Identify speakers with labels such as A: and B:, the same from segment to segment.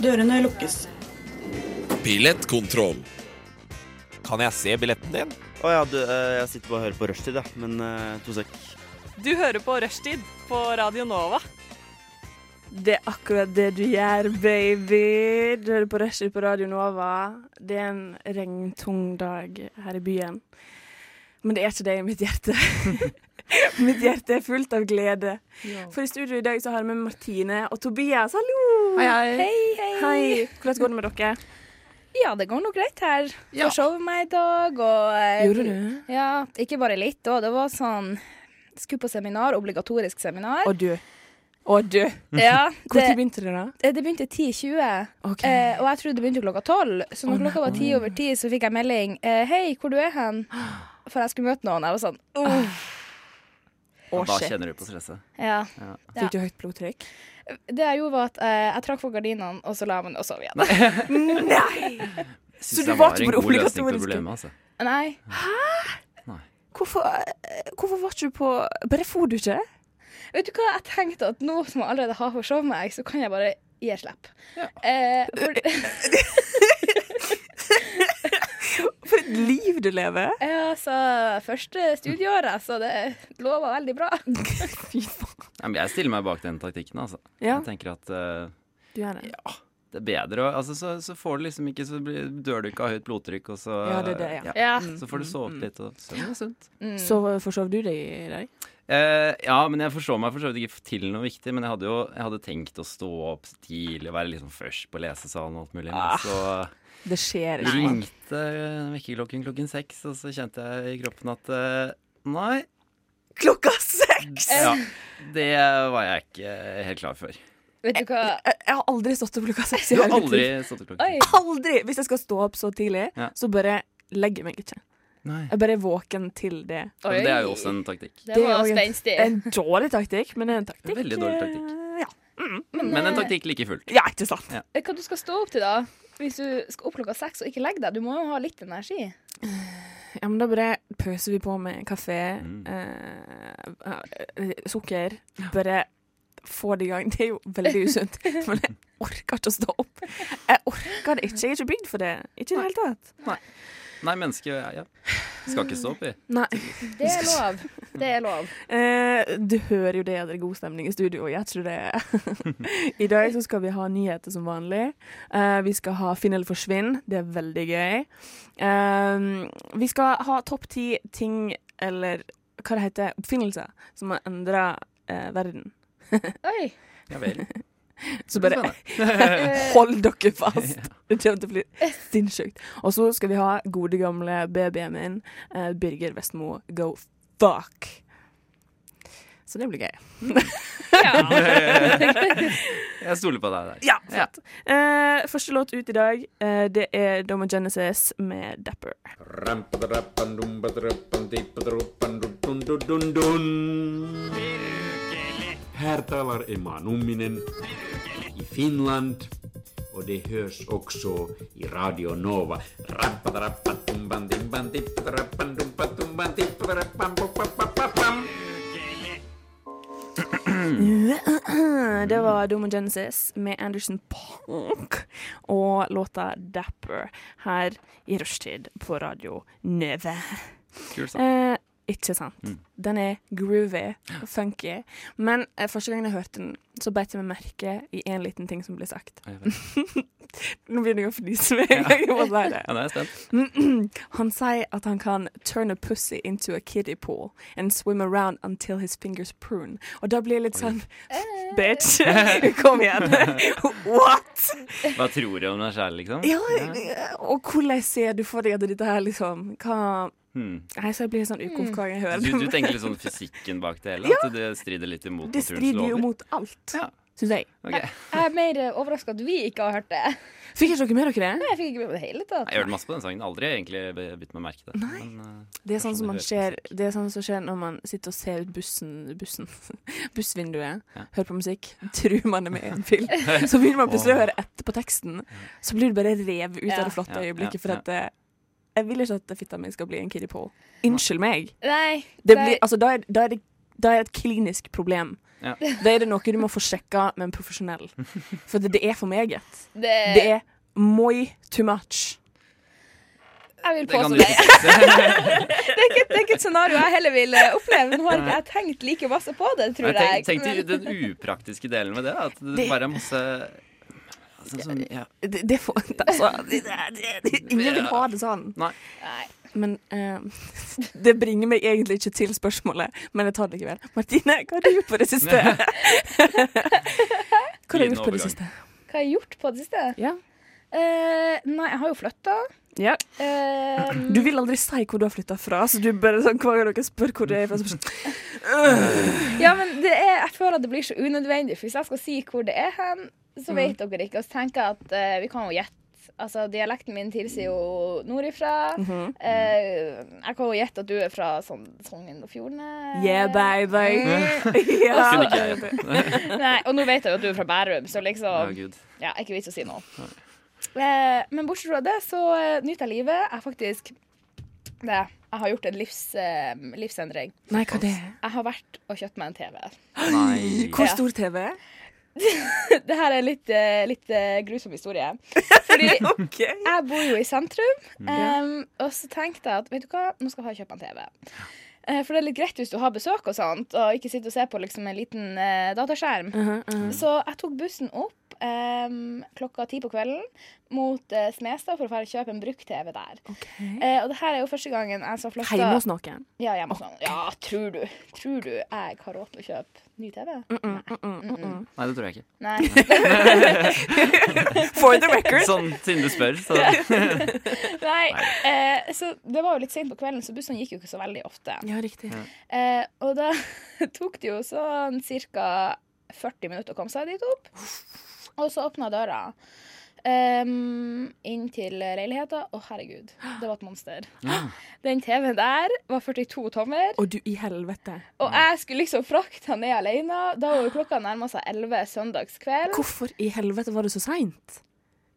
A: Dørene lukkes.
B: Billettkontroll.
C: Kan jeg se billetten din?
D: Å ja, du, eh, jeg sitter bare og hører på rushtid, jeg. Men eh, to sek.
E: Du hører på Rushtid på Radio Nova.
F: Det er akkurat det du gjør, baby. Du hører på Rushdie på Radio Nova. Det er en regntung dag her i byen. Men det er ikke det i mitt hjerte. mitt hjerte er fullt av glede. For i studio i dag så har vi med Martine og Tobias. Hallo!
G: Hei, hei.
F: hei. Hvordan går det med dere?
G: Ja, det går nå greit her.
F: Ja.
G: Forsov meg i dag, og eh,
F: Gjorde du?
G: Ja, ikke bare litt òg. Det var sånn Skulle på seminar, obligatorisk seminar.
F: Og du? Og du?
G: Ja, det,
F: Når begynte det, da?
G: eh, det begynte 10.20,
F: Ok.
G: eh, og jeg trodde det begynte klokka 12. Så når klokka var ti over ti, så fikk jeg melding eh, 'Hei, hvor du er hen?' For jeg skulle møte noen. Jeg var sånn «Uff».
F: Å,
D: Da
F: shit.
D: kjenner du på stresset.
G: Ja.
F: Fikk du høyt blodtrykk?
G: Det jeg gjorde, var at eh, jeg trakk for gardinene, og så la jeg meg ned og sov igjen.
F: Nei!
D: Jeg
F: Så
D: synes
F: du
D: det
F: var
D: var
F: ikke
D: en
F: på det
D: god løsning på
F: obligatoriske?
D: problemet, altså.
G: Nei.
F: Hvorfor, eh, hvorfor var ikke du på Bare for du ikke?
G: Vet du hva, jeg tenkte at nå som jeg allerede har forsovet meg, så kan jeg bare gi slipp. Eh, for,
F: For et liv du lever!
G: ja, så første studieåret, så det lover veldig bra.
F: Fy faen.
D: Ja, men jeg stiller meg bak den taktikken, altså.
F: Ja,
D: Jeg tenker at eh,
F: du gjør det.
D: det er bedre å altså, så, så får du liksom ikke Så blir, dør du ikke av høyt blodtrykk, og så
F: Ja, det er det, ja. Mm,
G: Ja.
D: Så får du sovet litt, og søvn er sunt.
F: Så forsov du deg i dag?
D: Eh, ja, men jeg forstår meg for så vidt ikke til noe viktig. Men jeg hadde jo jeg hadde tenkt å stå opp tidlig og være liksom først på lesesalen og alt mulig. Men så
F: Ah, Det skjer ikke.
D: ringte vekkerklokken klokken seks, og så kjente jeg i kroppen at eh, nei,
F: Klokka seks!
D: ja, det var jeg ikke helt klar for.
G: Vet du hva?
F: Jeg, eh, jeg har aldri stått opp klokka seks. i
D: Du har
F: hele mitt
D: aldri
F: liv.
D: stått opp
G: Oi.
D: klokken seks?
F: Aldri! Hvis jeg skal stå opp så tidlig,
D: Ja.
F: så bare legger jeg meg ikke.
D: Nei.
F: Jeg bare er våken til det.
D: Ja, men det er jo også en taktikk.
G: Det
F: er
G: var
F: også en-
G: spenstig.
F: En dårlig taktikk, men det er en taktikk.
D: Veldig dårlig taktikk.
F: eh, Ja,
D: Men en taktikk like fullt.
F: ja ikke sant?
D: Ja.
G: Hva du skal stå opp til, da? Hvis du skal opp klokka seks og ikke legge deg, du må jo ha litt energi.
F: Ja, men da bare pøser vi på med kafé,
D: Mm.
F: eh, eh, sukker. Bare få det i gang. Det er jo veldig usunt. Men jeg orker ikke å stå opp. Jeg orker det ikke. Jeg er ikke bygd for det. Ikke i det hele tatt.
D: Nei, menneske ja, ja. Skal ikke stå opp i.
F: Nei.
G: Det er lov. Det er lov.
F: Eh, du hører jo det at det er god stemning i studio, gjør ikke du det? I dag så skal vi ha nyheter som vanlig. Eh, vi skal ha Finn eller forsvinn. Det er veldig gøy. Eh, vi skal ha topp ti ting eller hva det heter, oppfinnelser som har endra eh, verden.
G: Oi.
D: Ja vel.
F: Så bare
G: Eh,
F: hold dere fast! Det kommer til å bli sinnssykt. Og så skal vi ha gode, gamle babyen min, eh, Birger Vestmo, go fuck! Så det blir gøy.
G: ja.
D: Jeg stoler på deg der.
F: Ja, flott. Eh, første låt ut i dag, eh, det er Doma Genesis med Dapper.
H: Här talar Emma Numminen i Finland och det hörs också i Radio Nova.
F: Det var Doma Genesis med Anderson Punk og låta Dapper her i rushtid på Radio Nøve.
D: Kul sak.
F: Eh, ikke sant. Den er groovy og funky. Men eh, første gangen jeg hørte den, så beit jeg meg merke i en liten ting som ble sagt.
D: Ja, jeg vet.
F: Nå begynner jeg å fnise med en gang jeg må si det.
D: Ja, nå er jeg spent.
F: Han sier at han kan turn a pussy into a kiddie pool and swim around until his fingers prune. Og da blir jeg litt sånn
G: Eh,
F: Bitch, kom igjen. What?
D: Hva tror du om deg sjæl, liksom?
F: Ja, og hvordan ser du for deg at dette her liksom Hva
D: Hmm.
F: Nei, så jeg blir sånn ukom hver gang jeg hører
D: Du, du
F: det.
D: tenker litt sånn fysikken bak det hele? At det strider litt imot
F: Det
D: naturens
F: strider jo
D: lover?
F: mot alt,
D: Ja.
F: syns jeg.
D: Ok. Nei,
G: Jeg er mer overraska at vi ikke har hørt det.
F: Fikk ikke dere med dere det?
G: Jeg fikk ikke med meg det hele tatt.
D: Jeg hørte masse på den sangen. Aldri egentlig be- bitt meg merke det. Men, eh,
F: Det er sånn
D: Kanskje
F: som man
D: det
F: ser,
D: hører musikk.
F: det er sånn som skjer når man sitter og ser ut bussen, bussen bussvinduet,
D: Ja.
F: hører på musikk, tror man er med i en film. Så begynner man plutselig å høre etterpå teksten, så blir du bare revet ut
G: Ja.
F: av det flotte
D: Ja, ja,
F: øyeblikket. For
D: ja.
F: at eh, det, jeg vil ikke at fitta mi skal bli en kiddie pool. Unnskyld meg.
G: Nei.
F: Det blir, altså, da, er, da er det det er et klinisk problem.
D: Ja.
F: Da er det noe du må få sjekka med en profesjonell. For det, det er for meget.
G: Det,
F: Det er moi too much.
G: jeg vil
D: Det kan
G: påstå
D: du
G: det.
D: ikke fikse.
G: Det er ikke, det er ikke et scenario jeg heller vil eh, oppleve. Nå har ikke jeg tenkt like masse på det, tror
D: Men
G: jeg.
D: Tenk, tenk til
G: Men-
D: den upraktiske delen med det. da, At det
F: Det-
D: bare er masse altså, sånn, ja.
F: Det, det får altså, det, det, det, Ingen vil ha det sånn.
D: Nei.
G: Nei.
F: Men eh, det bringer meg egentlig ikke til spørsmålet, men jeg tar det likevel. Martine, hva har du gjort på det siste? hva har du
D: Glidende
F: gjort på det
D: overgang.
F: siste?
G: Hva har jeg gjort på det siste?
F: Ja.
G: Eh, nei, jeg har jo flytta.
F: Ja.
G: Eh,
F: Du vil aldri si hvor du har flytta fra, så du bare sånn hver gang dere spør hvor du er fra, så bare sånn
G: ja, men det er, jeg føler at det blir så unødvendig. For hvis jeg skal si hvor det er hen, så vet dere ikke. Og så tenker jeg at eh, vi kan jo gjette. Altså, Dialekten min tilsier jo nordifra. Eh, jeg kan jo gjette at du er fra sånn Sogn og Fjordane.
F: Yeah,
G: Mm.
F: baby. ja.
D: Kunne ikke jeg.
G: Nei, Og nå vet jeg jo at du er fra Bærum, så liksom
D: Å, Gud.
G: Ja, ikke vits å si noe. Eh, men bortsett fra det, så eh, nyter jeg livet. Jeg faktisk det, Jeg har gjort en livs, eh, livsendring.
F: Nei, hva det er?
G: Jeg har vært og kjøpt meg en TV.
D: Nei.
F: Hvor stor TV?
G: Det her er en litt, eh, litt eh, grusom historie. Fordi
F: OK.
G: jeg bor jo i sentrum, em, og så tenkte jeg at vet du hva, nå skal jeg kjøpe en TV. Eh, For det er litt greit hvis du har besøk og sånt, og ikke sitter og ser på liksom en liten eh, dataskjerm.
F: Uh-huh, Mm.
G: Så jeg tok bussen opp em, klokka ti på kvelden mot eh, Smestad for å fære og kjøpe en brukt-TV der. Eh, og det her er jo første gangen jeg så flytta
F: Hjemme hos noen?
G: Ja, hjemme hos noen. Ja, tror du Tror du jeg har råd til å kjøpe ny TV?
F: Mm,
G: Mm.
D: Nei, det tror jeg ikke.
G: Nei.
F: For the record.
D: Sånn siden du spør, så
G: Nei. Eh, så det var jo litt sent på kvelden, så bussene gikk jo ikke så veldig ofte.
F: Ja, riktig.
G: Eh, og da tok det jo sånn ca. 40 minutter å komme seg dit opp. Og så åpna døra ehm, inn til leiligheta. Å, herregud, det var et monster. Den TV-en der var 42 tommer,
F: Og du i helvete.
G: og jeg skulle liksom frakte han ned alene. Da var jo klokka nærma seg 11 søndagskveld.
F: Hvorfor i helvete var det så seint?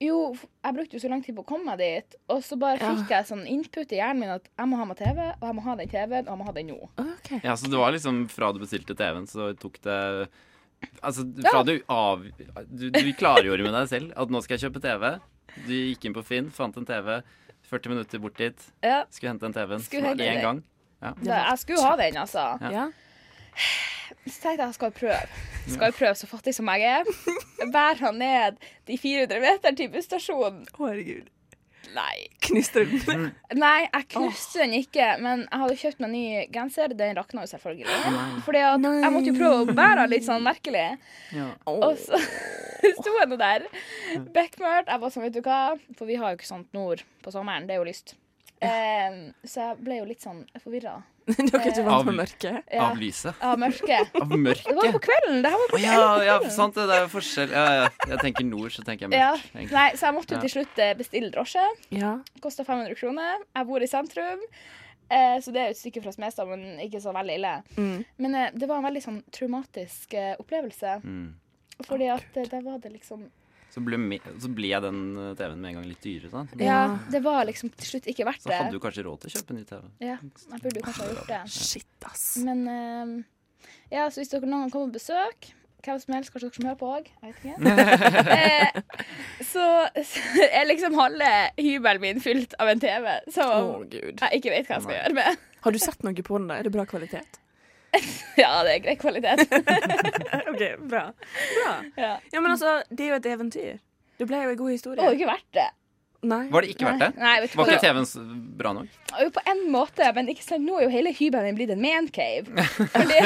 G: Jo, f- jeg brukte jo så lang tid på å komme meg dit, og så bare
F: Ja.
G: fikk jeg sånn input i hjernen min at jeg må ha meg TV, og jeg må ha den TV-en, og jeg må ha den nå.
F: Okay.
D: Ja, så det var liksom fra du bestilte TV-en, så tok det Altså,
G: Ja.
D: fra du av... Du, du klargjorde med deg selv at nå skal jeg kjøpe TV. Du gikk inn på Finn, fant en TV, 40 minutter bort dit,
G: Ja,
D: skulle hente den TV-en
G: Skulle hente den.
D: én gang.
G: da, jeg skulle ha den, altså.
D: Ja.
F: Ja.
G: Så tenkte jeg jeg skal prøve. Skal jeg prøve så fattig som jeg er? Bærer han ned de 400 meter til busstasjonen?
F: Herregud.
G: Nei.
F: Knistrer
D: Mm.
F: den?
G: Nei, jeg knuste den ikke, men jeg hadde kjøpt meg ny genser. Den rakna jo selvfølgelig. Fordi at jeg måtte jo prøve å bære den litt sånn merkelig.
D: Ja.
G: Og så sto jeg nå der, bekmørkt. Jeg var sånn, vet du hva, for vi har jo ikke sånt nord på sommeren. Det er jo lyst. Em, så jeg ble jo litt sånn forvirra
F: Dere er ikke vant med
D: Av-
F: mørket?
G: Ja.
D: Av lyset.
G: av mørket.
D: Av
G: Det var jo
D: mørket.
G: på kvelden. Det her var på
D: Å ja, ja, sant det. Det er jo forskjell. Ja, ja. Jeg tenker nord, så tenker jeg
G: Ja,
D: mørkt. egentlig.
G: nei, så jeg måtte
D: Ja.
G: jo til slutt eh, bestille drosje.
F: Ja.
G: Kosta 500 kroner. Jeg bor i sentrum, eh, så det er jo et stykke fra Smestad, men ikke så veldig ille.
F: Mm.
G: Men eh, det var en veldig sånn traumatisk eh, opplevelse,
D: Mm.
G: fordi at eh, der var det liksom
D: Så ble, me- så ble den eh, TV-en med en gang litt dyrere, sant?
G: Ja, det var liksom til slutt ikke verdt
D: Så hadde
G: det.
D: du kanskje råd til å kjøpe en ny TV.
G: Ja, jeg burde jo kanskje ha gjort det.
F: Shit, ass.
G: Men eh, ja, så hvis dere noen gang kommer på besøk hvem som helst, kanskje dere som hører på òg. Jeg vet ikke. eh, så, så er liksom halve hybelen min fylt av en TV
F: Å,
G: som
F: gud.
G: jeg ikke vet hva jeg skal
D: Nei.
G: gjøre med.
F: Har du sett noe på den? da? Er det bra kvalitet?
G: Ja, det er grei kvalitet.
F: Eh, OK, bra. bra.
G: Ja.
F: Ja, men altså, det er jo et eventyr. Det ble jo en god
G: Det var
F: historie.
G: jo ikke verdt det.
F: Nei.
D: Var det ikke verdt det?
G: Nei, vet du
D: Var
G: hva?
D: ikke TV-en s- bra nok?
G: Jo, på en måte, men ikke sant, nå er jo hele hybelen min blitt en mancave. Fordi,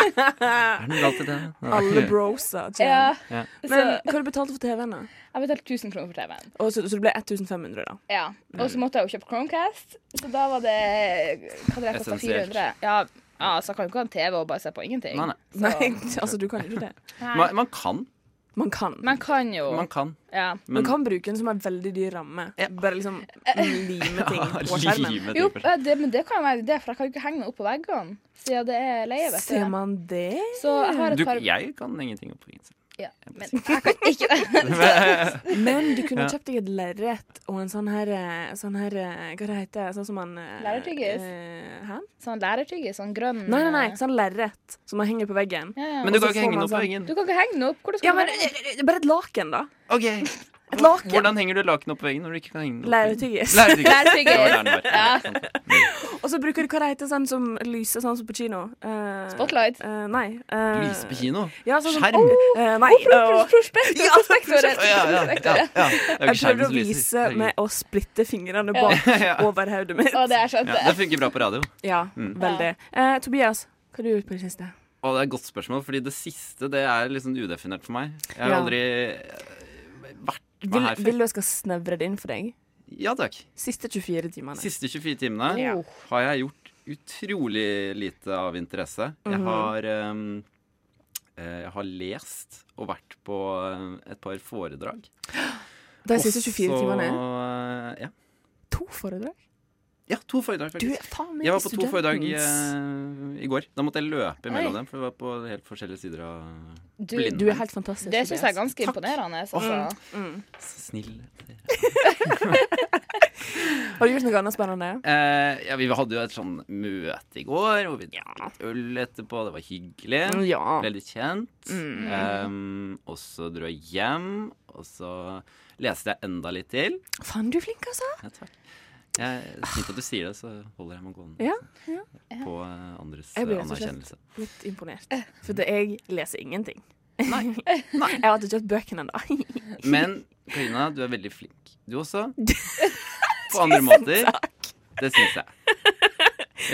D: Er det noe galt i det? Ja.
F: Alle brosa. tjener.
G: ja,
D: Ja.
G: så
F: Men hva har du betalt for TV-en, da?
G: jeg betalte 1000 kroner for TV-en.
F: Og så, så det ble 1500, da.
G: Ja. Og så måtte jeg jo kjøpe Chromecast, så da var det Hva hadde det kosta?
D: Essensielt.
G: 400? Ja, ja, så jeg kan jo ikke ha en TV og bare se på ingenting.
D: Nei, nei.
G: Så,
F: Nei, altså, du kan jo ikke det.
G: nei.
D: Man, man kan.
F: Man kan. Man,
G: Man kan jo
D: Man kan.
G: ja.
D: Men
F: kan bruke den som en veldig dyr ramme. Bare liksom lime ting på skjermen.
D: livet
G: Jo,
D: driver.
G: ja, det, men det kan være det, for jeg kan jo ikke henge den opp på veggene, siden det er leie, vet
F: Ser
G: du.
F: man det?
G: Så jeg har
D: Du,
G: et par
D: jeg kan ingenting om prinsesse.
G: Ja, men jeg kan ikke det.
F: Men du kunne
D: Ja.
F: kjøpt deg et lerret og en sånn her, eh, sånn her eh, Hva det heter Sånn som man eh,
G: Lerretyggis?
F: eh, Hæ?
G: Sånn lærertyggis, sånn grønn
F: Nei, nei, nei. Sånn lerret som man henger på veggen.
G: Ja, ja.
D: Men
F: Og
D: du
F: så
D: kan
F: får
D: ikke
F: man
D: henge den opp på
F: sånn-
D: veggen.
G: Du kan ikke henge den opp. Hvor du skal
F: Ja, men
G: den være?
F: eh, eh, bare et laken, da.
D: Ok.
F: Et laken.
D: Hvordan henger du laken opp på veggen når du ikke kan henge den opp? på veggen?
F: Lerretyggis.
D: Lærertygger.
G: Lærertygger.
D: Det var der den var.
G: Ja.
D: Sant.
F: Og så bruker du hva det heter sånn som lyser sånn som på kino. Eh,
G: Spotlight.
F: eh, nei. eh,
D: Lyse på kino?
F: Ja, sånn som
D: Skjerm?
F: Eh, nei. og-
G: Prospektor, prospektoret.
D: Å, ja, ja, ja,
G: prospektoret.
D: ja. Det er jo
F: jeg
D: ikke skjermen
F: prøvde å
D: som lyser.
F: vise med å splitte fingrene bak
D: Herregud. Ja. Mm.
F: over hodet mitt.
G: Å, det er skjønt,
D: Ja, det
G: det.
D: funker bra på radio.
F: Ja, veldig. Eh, Tobias, hva har du gjort på det siste?
D: Og det er et godt spørsmål, fordi det siste det er litt sånn udefinert for meg. Jeg har
F: Ja.
D: aldri eh, vært med
F: Vil,
D: her
F: vil
D: før.
F: du jeg skal snevre det inn for deg?
D: Ja takk.
F: Siste 24 timene.
D: Siste 24 timene
G: Ja.
D: har jeg gjort utrolig lite av interesse.
F: Mhm.
D: Jeg har ehm, eh, jeg har lest og vært på eh, et par foredrag.
F: De siste 24
D: Også,
F: timene?
D: eh, Ja.
F: To foredrag?
D: ja, to foredrag,
F: Du er
D: faktisk.
F: faen meg
D: Jeg var på to
F: studentens-
D: foredrag eh, i går. Da måtte jeg løpe
G: Oi.
D: mellom dem, for det var på helt forskjellige sider av
G: Du,
D: Blind.
F: Du er helt fantastisk.
G: det syns jeg er
F: Tobias.
G: ganske imponerende. Altså.
F: Mm.
D: Snill.
F: Har du gjort noe annet spennende?
D: Eh, ja, vi hadde jo et sånn møte i går, hvor vi drakk litt øl etterpå. Det var hyggelig.
F: Ja. Mm.
D: Ble litt kjent. Eh, og så dro jeg hjem, og så leste jeg enda litt til.
F: Faen, du er flink, altså.
D: Ja, takk. Jeg det er Fint at du sier det, så holder jeg meg gående
F: Ah. Ja, ja.
D: på eh, andres eh,
F: Jeg blir rett og slett-
D: anerkjennelse.
F: Litt imponert.
G: Eh.
F: For det- jeg leser ingenting. Jeg har ikke kjøpt bøkene ennå.
D: Men Karina, du er veldig flink. Du også. På andre måter. Det syns jeg.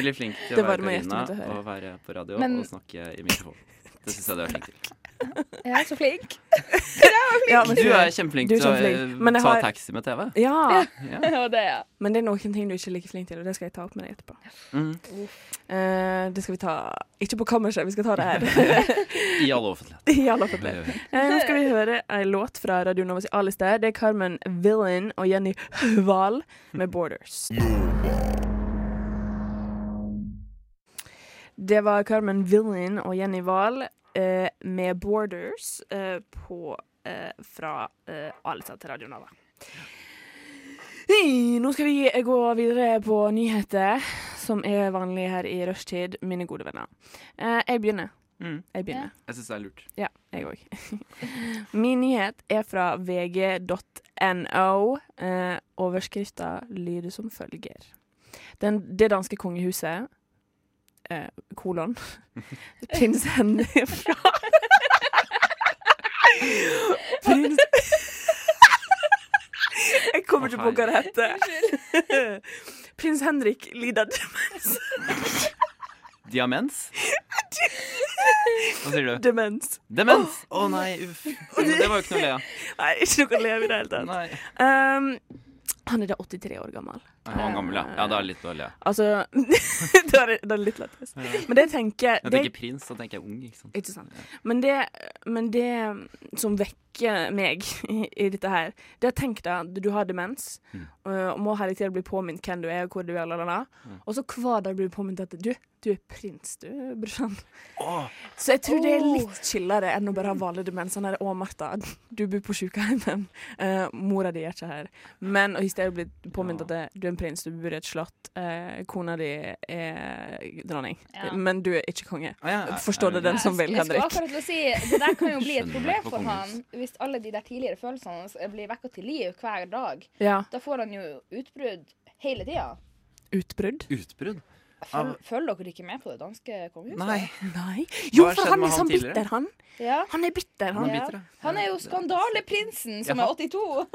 D: Veldig flink til
F: Det
D: å være
F: varmer hjertet
D: Karina
F: mitt å høre.
D: og være på radio
G: Men-
D: og snakke i mikrofon. Det syns jeg du er flink til.
G: Jeg er så flink.
F: Ja, men
D: Du
F: så-
D: er kjempeflink
F: Du er
D: til å
F: kjempeflink, men
D: eh,
F: jeg
D: ta
F: har-
D: taxi med TV.
F: Ja,
D: Ja.
G: Og det, ja.
F: men det er noen ting du ikke er like flink til, og det skal jeg ta opp med deg etterpå.
D: Mm.
F: Eh, det skal vi ta Ikke på kammerset, vi skal ta det her.
D: I all offentlighet.
F: I alle fall. Eh, nå skal vi høre ei låt fra Radio Novas A-liste. Det er Carmen Villain og Jenny Høval med 'Borders'. Det var Carmen Villain og Jenny Wahl eh, med 'Borders' eh, på, eh, fra eh, Alisa til Radio Nova. Hei, Nå skal vi gå videre på nyheter, som er vanlig her i rushtid, mine gode venner. Eh, jeg begynner.
D: Mm.
F: Jeg begynner.
D: Jeg syns det er lurt.
F: Ja, jeg òg. Min nyhet er fra vg.no. Eh, overskrifta lyder som følger. Den, det danske kongehuset eh, kolon prins Henry fra Prins Jeg kommer ikke på hva det heter. Prins Henrik lider
D: Diamens? Hva sier du?
F: demens.
D: Demens! Å nei, uff. Det var jo ikke noe å le av.
F: Nei, ikke noe å leve i det hele tatt.
D: Nei.
F: Um, han er da 83 år gammel.
D: Han var gammel, ja. Ja, det er litt å le av.
F: Altså Da er det, da er det litt lettest. Men det jeg tenker,
D: Jeg
F: det,
D: tenker prins, da tenker jeg ung. ikke sant?
F: ikke sant? Men, det, men det mm, som vekker meg i, i dette her, det er tenk deg at du har demens øh, og må hele tiden bli påminnet hvem du er og hvor du er, la, la, la. og så hver dag blir du påminnet at du, du er prins, du, brorsan.
D: Åh.
F: Så jeg tror det er litt chillere enn å bare ha vanlig demens. Sånn her, å, Martha, du bor på sykehjemmet. Uh, mora di er ikke her. Men og i stedet blir du påminnet at du er en prins, du bor i et slott. eh, kona di er dronning,
G: Ja.
F: men du er ikke konge.
D: Å, ja.
F: Forstår
D: Er
F: du
D: det
F: den som vil,
G: Jeg skulle
F: Henrik?
G: akkurat til å si, Det der kan jo bli et
D: Skjønner
G: problem
D: på
G: for han
D: kongehus.
G: hvis alle de der tidligere følelsene hans eh, blir vekka til liv hver dag.
F: Ja.
G: Da får han jo utbrudd hele tida.
F: Utbrudd?
D: Utbrudd?
G: Føl, følger dere ikke med på det danske kongehuset?
D: Nei.
F: Nei. Jo,
D: har skjedd
F: for han
D: med
F: er
D: han
F: sånn
D: tidligere?
F: bitter, han.
G: Ja.
F: Han er bitter, han.
D: Han
G: Ja.
D: er bitter, ja.
G: Han er jo skandaleprinsen, som
D: Ja.
G: er 82.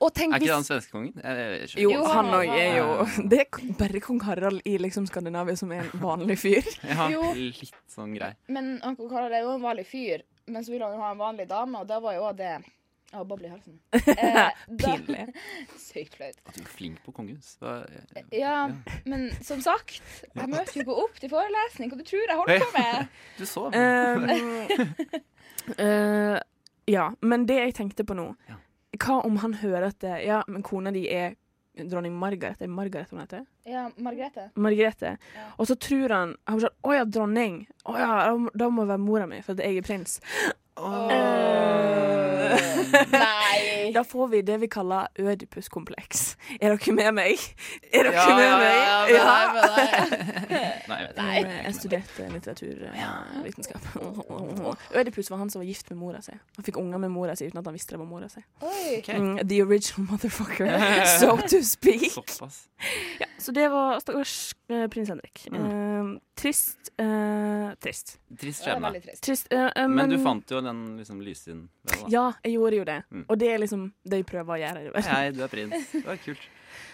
F: Og tenk
D: Er ikke det
F: hvis
D: han svenskekongen? Jeg- jeg- jeg skjønner
F: jo,
D: ikke.
G: Jo,
F: han
G: han
F: òg er
D: var-
F: jo Det er k- bare kong Harald i liksom Skandinavia som er en vanlig fyr.
D: Ja,
G: Jo.
D: litt sånn grei.
G: Men han Karl er jo en vanlig fyr, men så vil han jo ha en vanlig dame, og da var jo også det Å, boble i halsen. Eh, da-
F: Pinlig.
G: Sykt flaut.
D: At du er flink på kongehus. Hva-
G: Ja, men som sagt, jeg møter jo ikke opp til forelesning, hva du tror jeg holder på med?
D: Du så.
F: Um, eh, ja, men det jeg tenkte på nå
D: Ja.
F: Hva om han hører at det, Ja, men kona di er dronning Margaret. Er det Margaret hun heter?
G: Ja, Margrethe.
F: Margrethe.
G: Ja.
F: Og så tror han han blir sånn, Å ja, dronning. Å ja, da må- da må være mora mi, for at jeg er prins.
G: Nei.
F: Da får vi det vi kaller ødipuskompleks. Er dere med meg? Er dere med meg?
G: ja, men nei, men nei.
D: Nei, jeg vet
G: Nei.
D: ikke.
F: Eh, Jeg studerte litteraturvitenskap. Ødipus var han som var gift med mora si. Han fikk unger med mora si uten at han visste det var mora si.
G: Oi.
F: Mm, the original motherfucker, so to speak.
D: Såpass.
F: Så det var stakkars eh, prins Henrik. Eh, trist. eh, trist.
D: Trist
G: Det er
D: skjebne.
G: veldig trist.
F: Trist eh, eh,
D: Men du fant jo den liksom lyssiden ved da.
F: Ja, jeg gjorde jo det.
D: Mm.
F: Og det er liksom det jeg prøver å gjøre. i verden.
D: Hei, du er prins. Det var kult.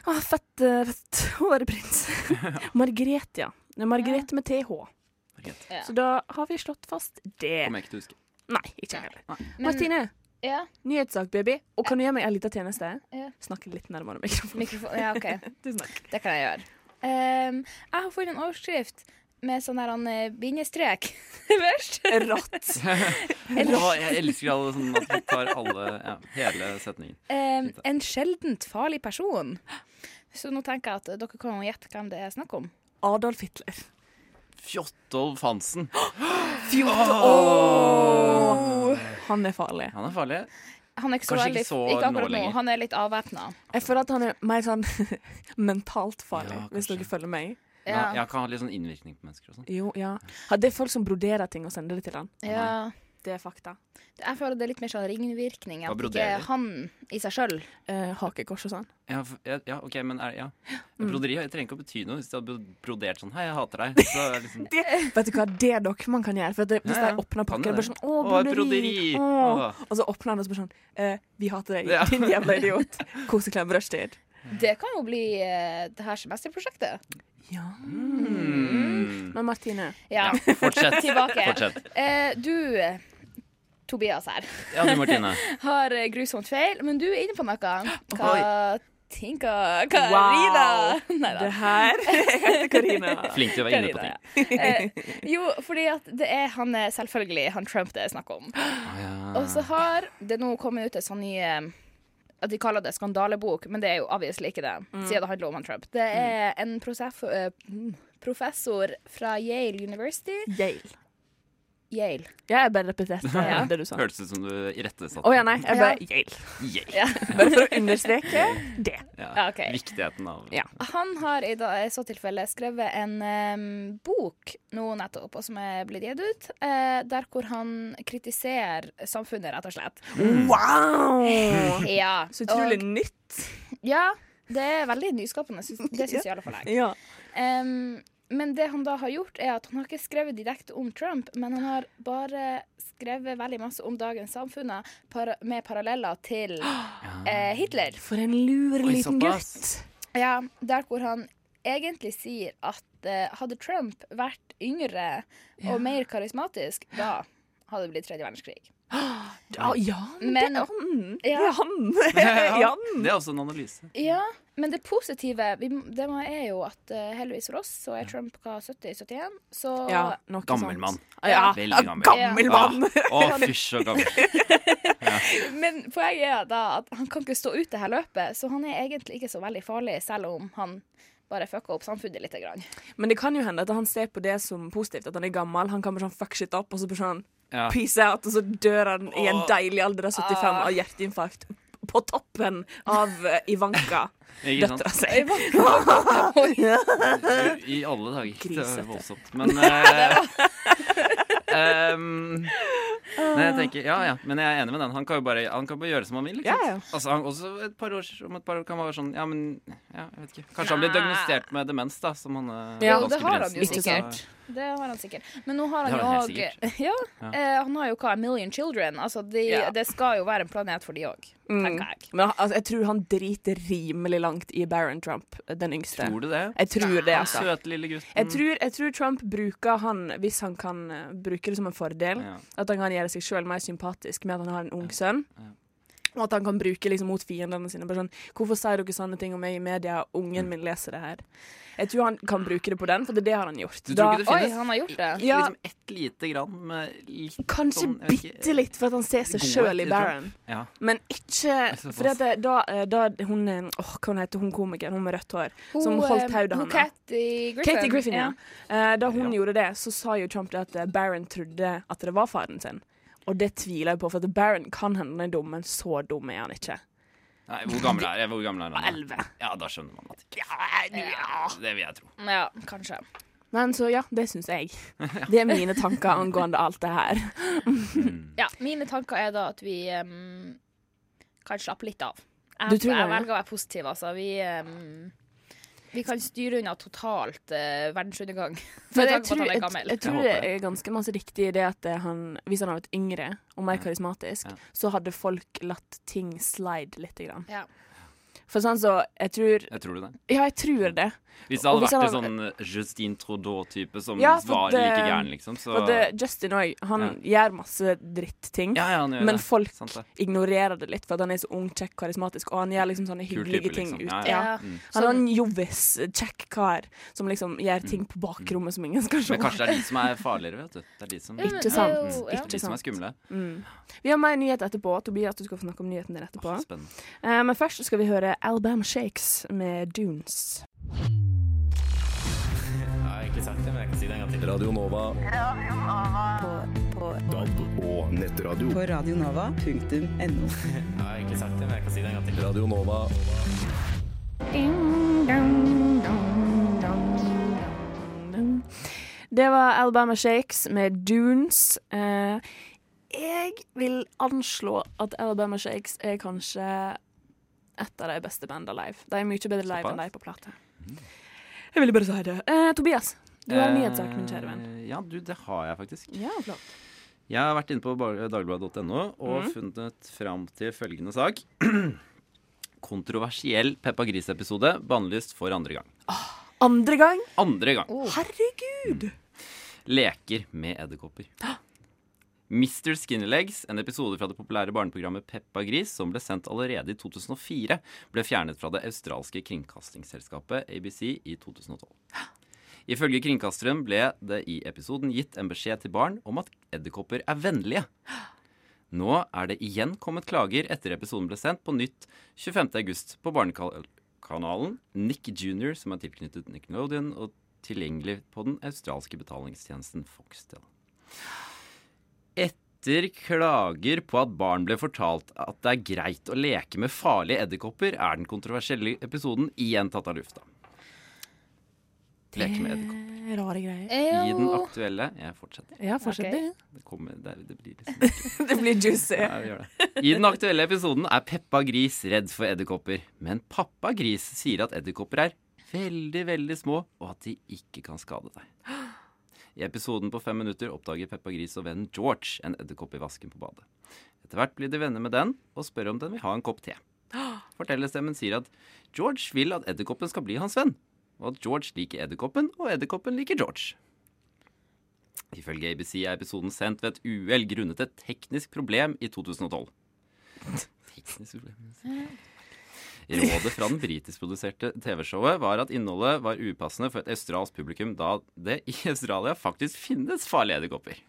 F: Å, fett, eh, fett å være prins. Margrethe, ja. Det er Margrethe med TH.
D: Margrethe.
G: Ja.
F: Så da har vi slått fast det.
D: Kommer jeg ikke til å huske.
F: Nei, ikke jeg heller.
G: Men-
F: Martine,
G: Ja,
F: nyhetssak, baby. Og kan du gjøre meg en liten tjeneste?
G: Ja.
F: Snakke litt nærmere mikrofonen.
G: mikrofon Ja, OK.
F: Tusen takk.
G: Det kan jeg gjøre. Ehm, jeg har funnet en overskrift med sånn her han, eh, bindestrek øverst.
F: Rått.
D: Å, jeg elsker alle sånn at vi tar alle ja, hele setningen.
G: Ehm, en sjeldent farlig person. Så nå tenker jeg at dere kan jo gjette hvem det er snakk om.
F: Adolf Hitler.
D: Fjotolf Hansen.
F: Han er farlig.
D: Han er farlig.
G: Han er ikke så
D: Kanskje ikke
G: veldig
D: så
G: Ikke
D: nå
G: akkurat nå.
D: lenger.
G: Han er litt avvæpna.
F: Jeg føler at han er mer sånn mentalt farlig,
D: Ja,
F: hvis
D: kanskje.
F: dere følger meg.
D: Ja.
G: Ja.
D: Jeg kan ha litt sånn innvirkning på mennesker og sånn.
F: Jo, ja. Ja, Det er folk som broderer ting og sender det til han.
G: ja.
F: Det er fakta.
G: Jeg føler det er litt mer sånn ringvirkning. At
D: Hva
G: ikke
D: broderer?
G: han i seg sjøl.
F: Eh, hakekors og sånn.
D: Ja, f- ja, ja, ok, men er, ja. Broderi jeg trenger ikke å bety noe. Hvis de hadde brodert sånn 'Hei, jeg hater deg', så er det liksom
F: det, vet du hva, det er dere man kan gjøre. For at det, hvis
D: Ja, ja.
F: de åpner
D: Kan
F: pakker,
D: det
F: bare
D: det?
F: sånn Å,
D: Å,
F: broderi!
D: broderi.
F: Å.
D: Å.
F: Og så åpner han og så bare sånn eh, Vi hater deg,
D: Ja.
F: din jævla idiot. Koseklem, rushtid.
D: Mm.
G: Det kan jo bli eh, det her semesterprosjektet.
F: Ja.
D: mm.
F: Men Martine,
G: Ja.
D: Ja, fortsett.
G: Tilbake.
D: Fortsett.
G: Eh, du, eh, Tobias her,
D: Ja, du, Martine.
G: har eh, grusomt feil, men du er inne på noe. Hva
D: Oi.
G: tenker Karina?
F: Wow.
G: Neida.
F: det her Jeg heter Karina.
D: Flink til å være inne på ting.
G: Eh, jo, fordi at det er han eh, selvfølgelig han Trump det er snakk om.
D: Ah, ja.
G: Og så har det nå kommet ut en sånn ny eh, at De kaller det skandalebok, men det er jo obviously ikke det,
D: Mm.
G: siden det handler om han Trump. Det er en prosef, eh, professor fra Yale University.
F: Yale.
G: Yale.
F: Jeg er bare repetert eh,
G: Ja.
F: det du sa. Å
D: Hørtes ut som du irettesatte
F: ja, nei. Jeg bare Yale.
D: Yay.
G: Ja.
F: Bare for å understreke det.
G: Ja,
D: Ja.
G: ok.
D: Viktigheten av
F: Ja.
G: Han har i da- i så tilfelle skrevet en em, bok nå nettopp, og som er blitt gitt ut, eh, der hvor han kritiserer samfunnet, rett og slett.
F: Mm. Wow!
G: Ja.
F: Så utrolig
G: og-
F: nytt.
G: Ja, det er veldig nyskapende. syns- Det syns i alle fall jeg.
F: Ja.
G: Em, men det han da har gjort, er at han har ikke skrevet direkte om Trump, men han har bare skrevet veldig masse om dagens samfunn para med paralleller til eh, Hitler.
F: For en lur
D: Oi,
F: liten
D: såpass.
F: gutt.
G: Ja, der hvor han egentlig sier at eh, hadde Trump vært yngre og mer karismatisk, da hadde det blitt tredje verdenskrig.
F: Ja, ja men,
G: Men-
F: det er han.
G: Ja.
F: Det er han.
D: Ja,
F: Eh, Jan.
D: Det er også en analyse.
G: Ja, men det positive vi, må- det må- er jo at eh, heldigvis for oss så er Trump hva 70-71, så
F: Ja, noe
D: Gammel
F: sånt.
D: mann.
F: Ja,
D: Veldig
F: ja,
D: gammel.
F: gammel mann.
D: Ah, Å, fysj og gammel.
G: Men poenget er da at han kan ikke stå ut det her løpet, så han er egentlig ikke så veldig farlig, selv om han bare fucka opp samfunnet litt. Grann.
F: Men det kan jo hende at han ser på det som positivt, at han er gammel. Han kan bare sånn fuck shit opp, og så bare sånn
D: Ja.
F: peace out, og så dør han i en deilig alder av 75 av hjerteinfarkt. På toppen av eh, Ivanka,
D: Ikke sant?
F: døtra si.
D: I alle dager. Det
F: Grisete.
D: var voldsomt. Men eh, em, Nei, jeg tenker Ja, ja. Men jeg er enig med den. Han kan jo bare, han kan bare gjøre som han vil. Ikke
F: Ja,
D: sant?
F: ja.
D: Altså, han, også et par år, om et par år kan han være sånn Ja, men ja, jeg vet ikke. Kanskje han blir diagnostisert med demens, da. Som han eh, Altså, er
G: Ja,
D: ganske
G: det har han
D: begrensende,
G: jo
D: så-
G: sikkert. Det har han sikkert. Men nå har
D: Det
G: han jo
D: har han
G: òg
D: helt
G: ja, eh, Han har jo hva, A Million Children. Altså, de,
F: Ja.
G: Det skal jo være en planet for de òg, tenker jeg.
F: Men han- altså, jeg tror han driter rimelig langt i Baron Trump, eh, den yngste.
D: Tror du det?
F: Jeg tror det,
D: Den
F: altså.
D: søte lille gutten.
F: Jeg tror, jeg tror Trump bruker han, hvis han kan eh, bruke det som en fordel,
D: Ja.
F: at han kan gjøre seg sjøl mer sympatisk med at han har en ung sønn. Og at han kan bruke liksom mot fiendene sine. Bare sånn, 'Hvorfor sier dere sånne ting om meg i media?
D: Mm.
F: Ungen min leser det her.' Jeg tror han kan bruke det på den, for det er det han har gjort.
D: Du tror ikke det
G: Oi,
D: finnes
G: han har gjort det.
F: Ja.
D: liksom ett lite grann med litt
F: Kanskje
D: sånn, jeg vet ikke-
F: bitte litt, for at han ser seg
D: Gode
F: sjøl i
D: til
F: Baron.
D: Trump. Ja.
F: Men ikke
D: så
F: For da, da hun eh, Åh, hva hun heter hun komikeren, hun med rødt hår, som holdt
G: eh,
F: hodet
G: hun
F: hans
G: Kathy Griffin.
F: Katie Griffin, ja. Eh, Da hun gjorde det, så sa jo Trump det at eh, Barron trodde at det var faren sin. Og det tviler jeg på, for at Baron kan hende han er dum, men så dum er han ikke.
D: Nei, hvor gammel er, hvor gammel er han? da?
F: Elleve.
D: Ja, da skjønner man at ikke.
G: Ja.
D: Det vil jeg tro.
G: ja, kanskje.
F: Men så ja, det syns jeg. Det er mine tanker angående alt det her.
G: Ja, mine tanker er da at vi ehm, kan slappe litt av.
F: Du
G: Jeg,
F: tror
G: jeg
F: det, ja.
G: velger å være positiv, altså. Vi, ehm, vi kan styre unna totalt eh, verdensundergang.
F: For
G: Med
F: jeg
G: tanke på
F: tror,
G: at han
F: jeg,
G: er gammel.
F: jeg tror
D: Jeg
F: det
D: håper
F: er ganske masse riktig i det at det han, hvis han hadde vært yngre og mer karismatisk,
D: Mm. Ja.
F: så hadde folk latt ting slide litt. Grann.
G: Ja.
F: For sånn så, jeg tror
D: Jeg tror du det.
F: Ja, jeg tror det.
D: Hvis det
F: Og
D: hadde
F: hvis
D: vært en
F: han
D: sånn Justine Trudeau-type som
F: Ja, for
D: var
F: det-
D: like gæren, liksom, så
F: For det, Justin òg, han gjør masse drittting.
D: Ja, ja, han gjør
F: Men
D: det. Sånn.
F: folk
D: Sant det.
F: ignorerer det litt, for at han er så ung, kjekk, karismatisk, og han gjør liksom sånne
D: Kul
F: hyggelige
D: type,
F: ting
D: liksom.
F: ut.
D: Ja,
G: ja.
F: Ja. Han er en jovis, kjekk kar som liksom gjør ting på bakrommet som ingen skal se.
D: Mm. Men kanskje det er de som er farligere, vet du. Det er de som, Mm.
G: men
F: Ikke sant?
G: det er jo- ja.
F: Ikke
D: de som er
F: sant.
D: skumle.
F: Mm. Vi har mer nyhet etterpå. Tobias, du skal få snakke om nyheten din etterpå.
D: Spennende.
F: Eh, men først skal vi høre Alabama Shakes med Dunes.
A: på radionova.no.
F: Det var Alabama Shakes med Dunes. Eh, jeg vil anslå at Alabama Shakes er kanskje et av de beste bandene live. De er mye bedre live enn de på plate. Mm. Jeg ville bare si det. Eh, Tobias, du har en nyhetssak, min kjære venn.
D: Eh, Ja, du, det har jeg faktisk.
F: Ja, flott.
D: Jeg har vært inne på bar- dagbladet.no og
F: Mm.
D: funnet fram til følgende sak. Kontroversiell Peppa Gris-episode bannlyst for andre gang.
F: Andre gang.
D: Andre gang.
F: Oh. Herregud!
D: Leker med edderkopper. Mr. Skinnerlegs, en episode fra det populære barneprogrammet Peppa Gris, som ble sendt allerede i 2004, ble fjernet fra det australske kringkastingsselskapet ABC i 2012. Ifølge kringkasteren ble det i episoden gitt en beskjed til barn om at edderkopper er vennlige. Nå er det igjen kommet klager etter episoden ble sendt på nytt 25.8 på barnekanalen Nick Jr., som er tilknyttet Nickelodeon og tilgjengelig på den australske betalingstjenesten Foxtel. Etter klager på at barn ble fortalt at det er greit å leke med farlige edderkopper, er den kontroversielle episoden igjen tatt av lufta. Leke med edderkopper.
F: Eh, Rare greier.
D: I den
G: Ew.
D: aktuelle Jeg fortsetter.
F: Ja, fortsett
G: Ok.
F: det.
D: Det, kommer, det, det blir liksom
F: Det blir juicy.
D: Ja, vi gjør det. I den aktuelle episoden er Peppa Gris redd for edderkopper. Men pappa Gris sier at edderkopper er veldig, veldig små, og at de ikke kan skade deg. I episoden på fem minutter oppdager Peppa Gris og vennen George en edderkopp i vasken på badet. Etter hvert blir de venner med den og spør om den vil ha en kopp te. Fortellerstemmen sier at George vil at edderkoppen skal bli hans venn, og at George liker edderkoppen, og edderkoppen liker George. Ifølge ABC er episoden sendt ved et uhell grunnet et teknisk problem i 2012. Teknisk problem Rådet fra den britiskproduserte TV-showet var at innholdet var upassende for et australsk publikum, da det i Australia faktisk finnes farlige edderkopper.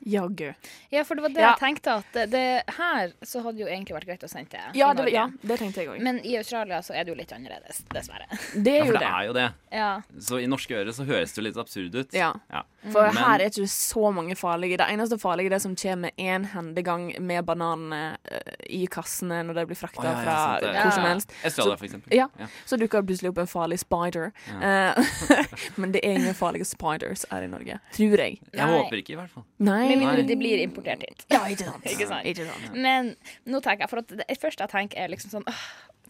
F: Jaggu.
G: Ja, for det var det
F: Ja.
G: jeg tenkte. At det, det her så hadde jo egentlig vært greit å sende det. i
F: Ja, det-
G: Norge.
F: ja, det tenkte jeg òg.
G: Men i Australia så er det jo litt annerledes, dessverre.
F: Det
D: Ja,
F: er jo
D: for det
F: det.
D: er jo det.
G: Ja.
D: Så i norske ører så høres det jo litt absurd ut.
F: Ja.
D: Ja.
F: For
D: Mm. Men-
F: her er ikke det så mange farlige. Det eneste farlige er det som kommer med én hendegang med bananene eh, i kassene når de blir frakta
D: Å, ja, ja,
F: fra
D: sant det.
F: hvor som
D: Ja.
F: helst.
D: Australia, for eksempel.
F: Ja,
D: Ja.
F: Så dukker det plutselig opp en farlig spider. Eh, men det er ingen farlige spiders her i Norge. Tror jeg.
D: Jeg
G: Nei.
D: håper ikke, i hvert fall.
F: Nei.
G: Med mindre de blir importert hit.
F: Ja, ikke sant.
G: Ikke sant?
F: Ikke sant.
G: Men nå tenker jeg, for at det første jeg tenker er liksom sånn «Åh,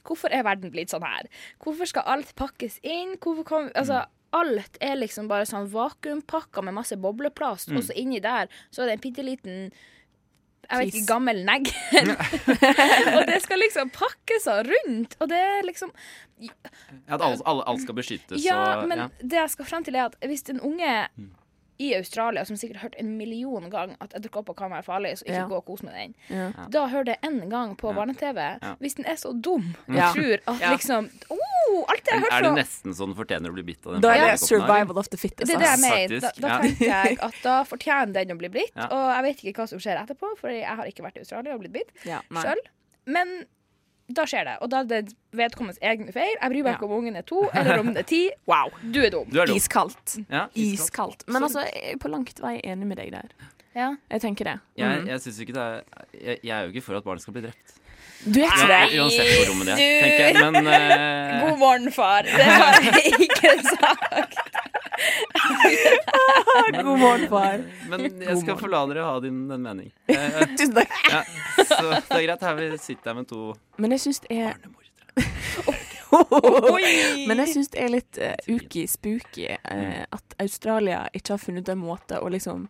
G: Hvorfor er verden blitt sånn her? Hvorfor skal alt pakkes inn? Hvorfor kan, altså, Alt er liksom bare sånn vakuumpakka med masse bobleplast, og så inni der så er det en bitte liten jeg vet
F: Fis.
G: ikke, gammel negl. og det skal liksom pakkes og rundt. Og det er liksom
D: Ja, At alle, alle, alle skal beskyttes
G: Ja,
D: og
G: men
D: Altså, ja.
G: det jeg skal frem til, er at hvis en unge i Australia, som sikkert har hørt en million gang at edderkopper kan være farlige, så ikke
F: Ja.
G: gå og kos med den,
F: Ja.
G: da hører det én gang på barne-TV. Hvis den er så dum og
F: Ja.
G: tror at
F: Ja.
G: liksom oh, Alt det jeg har
D: Er
G: hørt
D: det
G: fra
D: nesten så den fortjener å bli bitt av den
F: Da
D: farlige
F: er det
D: edderkoppen her, eller?
F: survival of the fittest.
G: det er det jeg
F: ass.
G: mener. Da,
D: Faktisk,
G: da
D: ja.
G: tenker jeg at da fortjener den å bli blitt.
D: Ja.
G: Og jeg vet ikke hva som skjer etterpå, for jeg har ikke vært i Australia og blitt bitt
F: Ja, nei.
G: sjøl. Men da skjer det. Og da er det vedkommendes egne feil. Jeg bryr meg ikke om ungen er to eller om den er ti. Wow. Du er dum.
D: Du er dum.
F: Iskaldt.
D: Ja,
F: Iskaldt. Men altså, jeg er på langt vei enig med deg der.
G: Ja.
F: Jeg tenker det.
D: Jeg,
F: Mm.
D: jeg, synes ikke det er, jeg, jeg er jo ikke for at barn skal bli drept.
F: Du er ikke det?
D: Ja, uansett hvor rommet det er, tenker jeg. Men eh,
G: God morgen, far. Det har jeg ikke sagt.
F: God morgen, far.
D: Men jeg skal
F: morgen.
D: få la dere ha din, den mening. Eh,
F: Tusen takk.
D: ja. Så det er greit. Her vi sitter her med to
F: Men jeg syns det er
D: barnemordere.
F: Men jeg syns det er litt uh, spooky
D: Mm.
F: eh, at Australia ikke har funnet en måte å liksom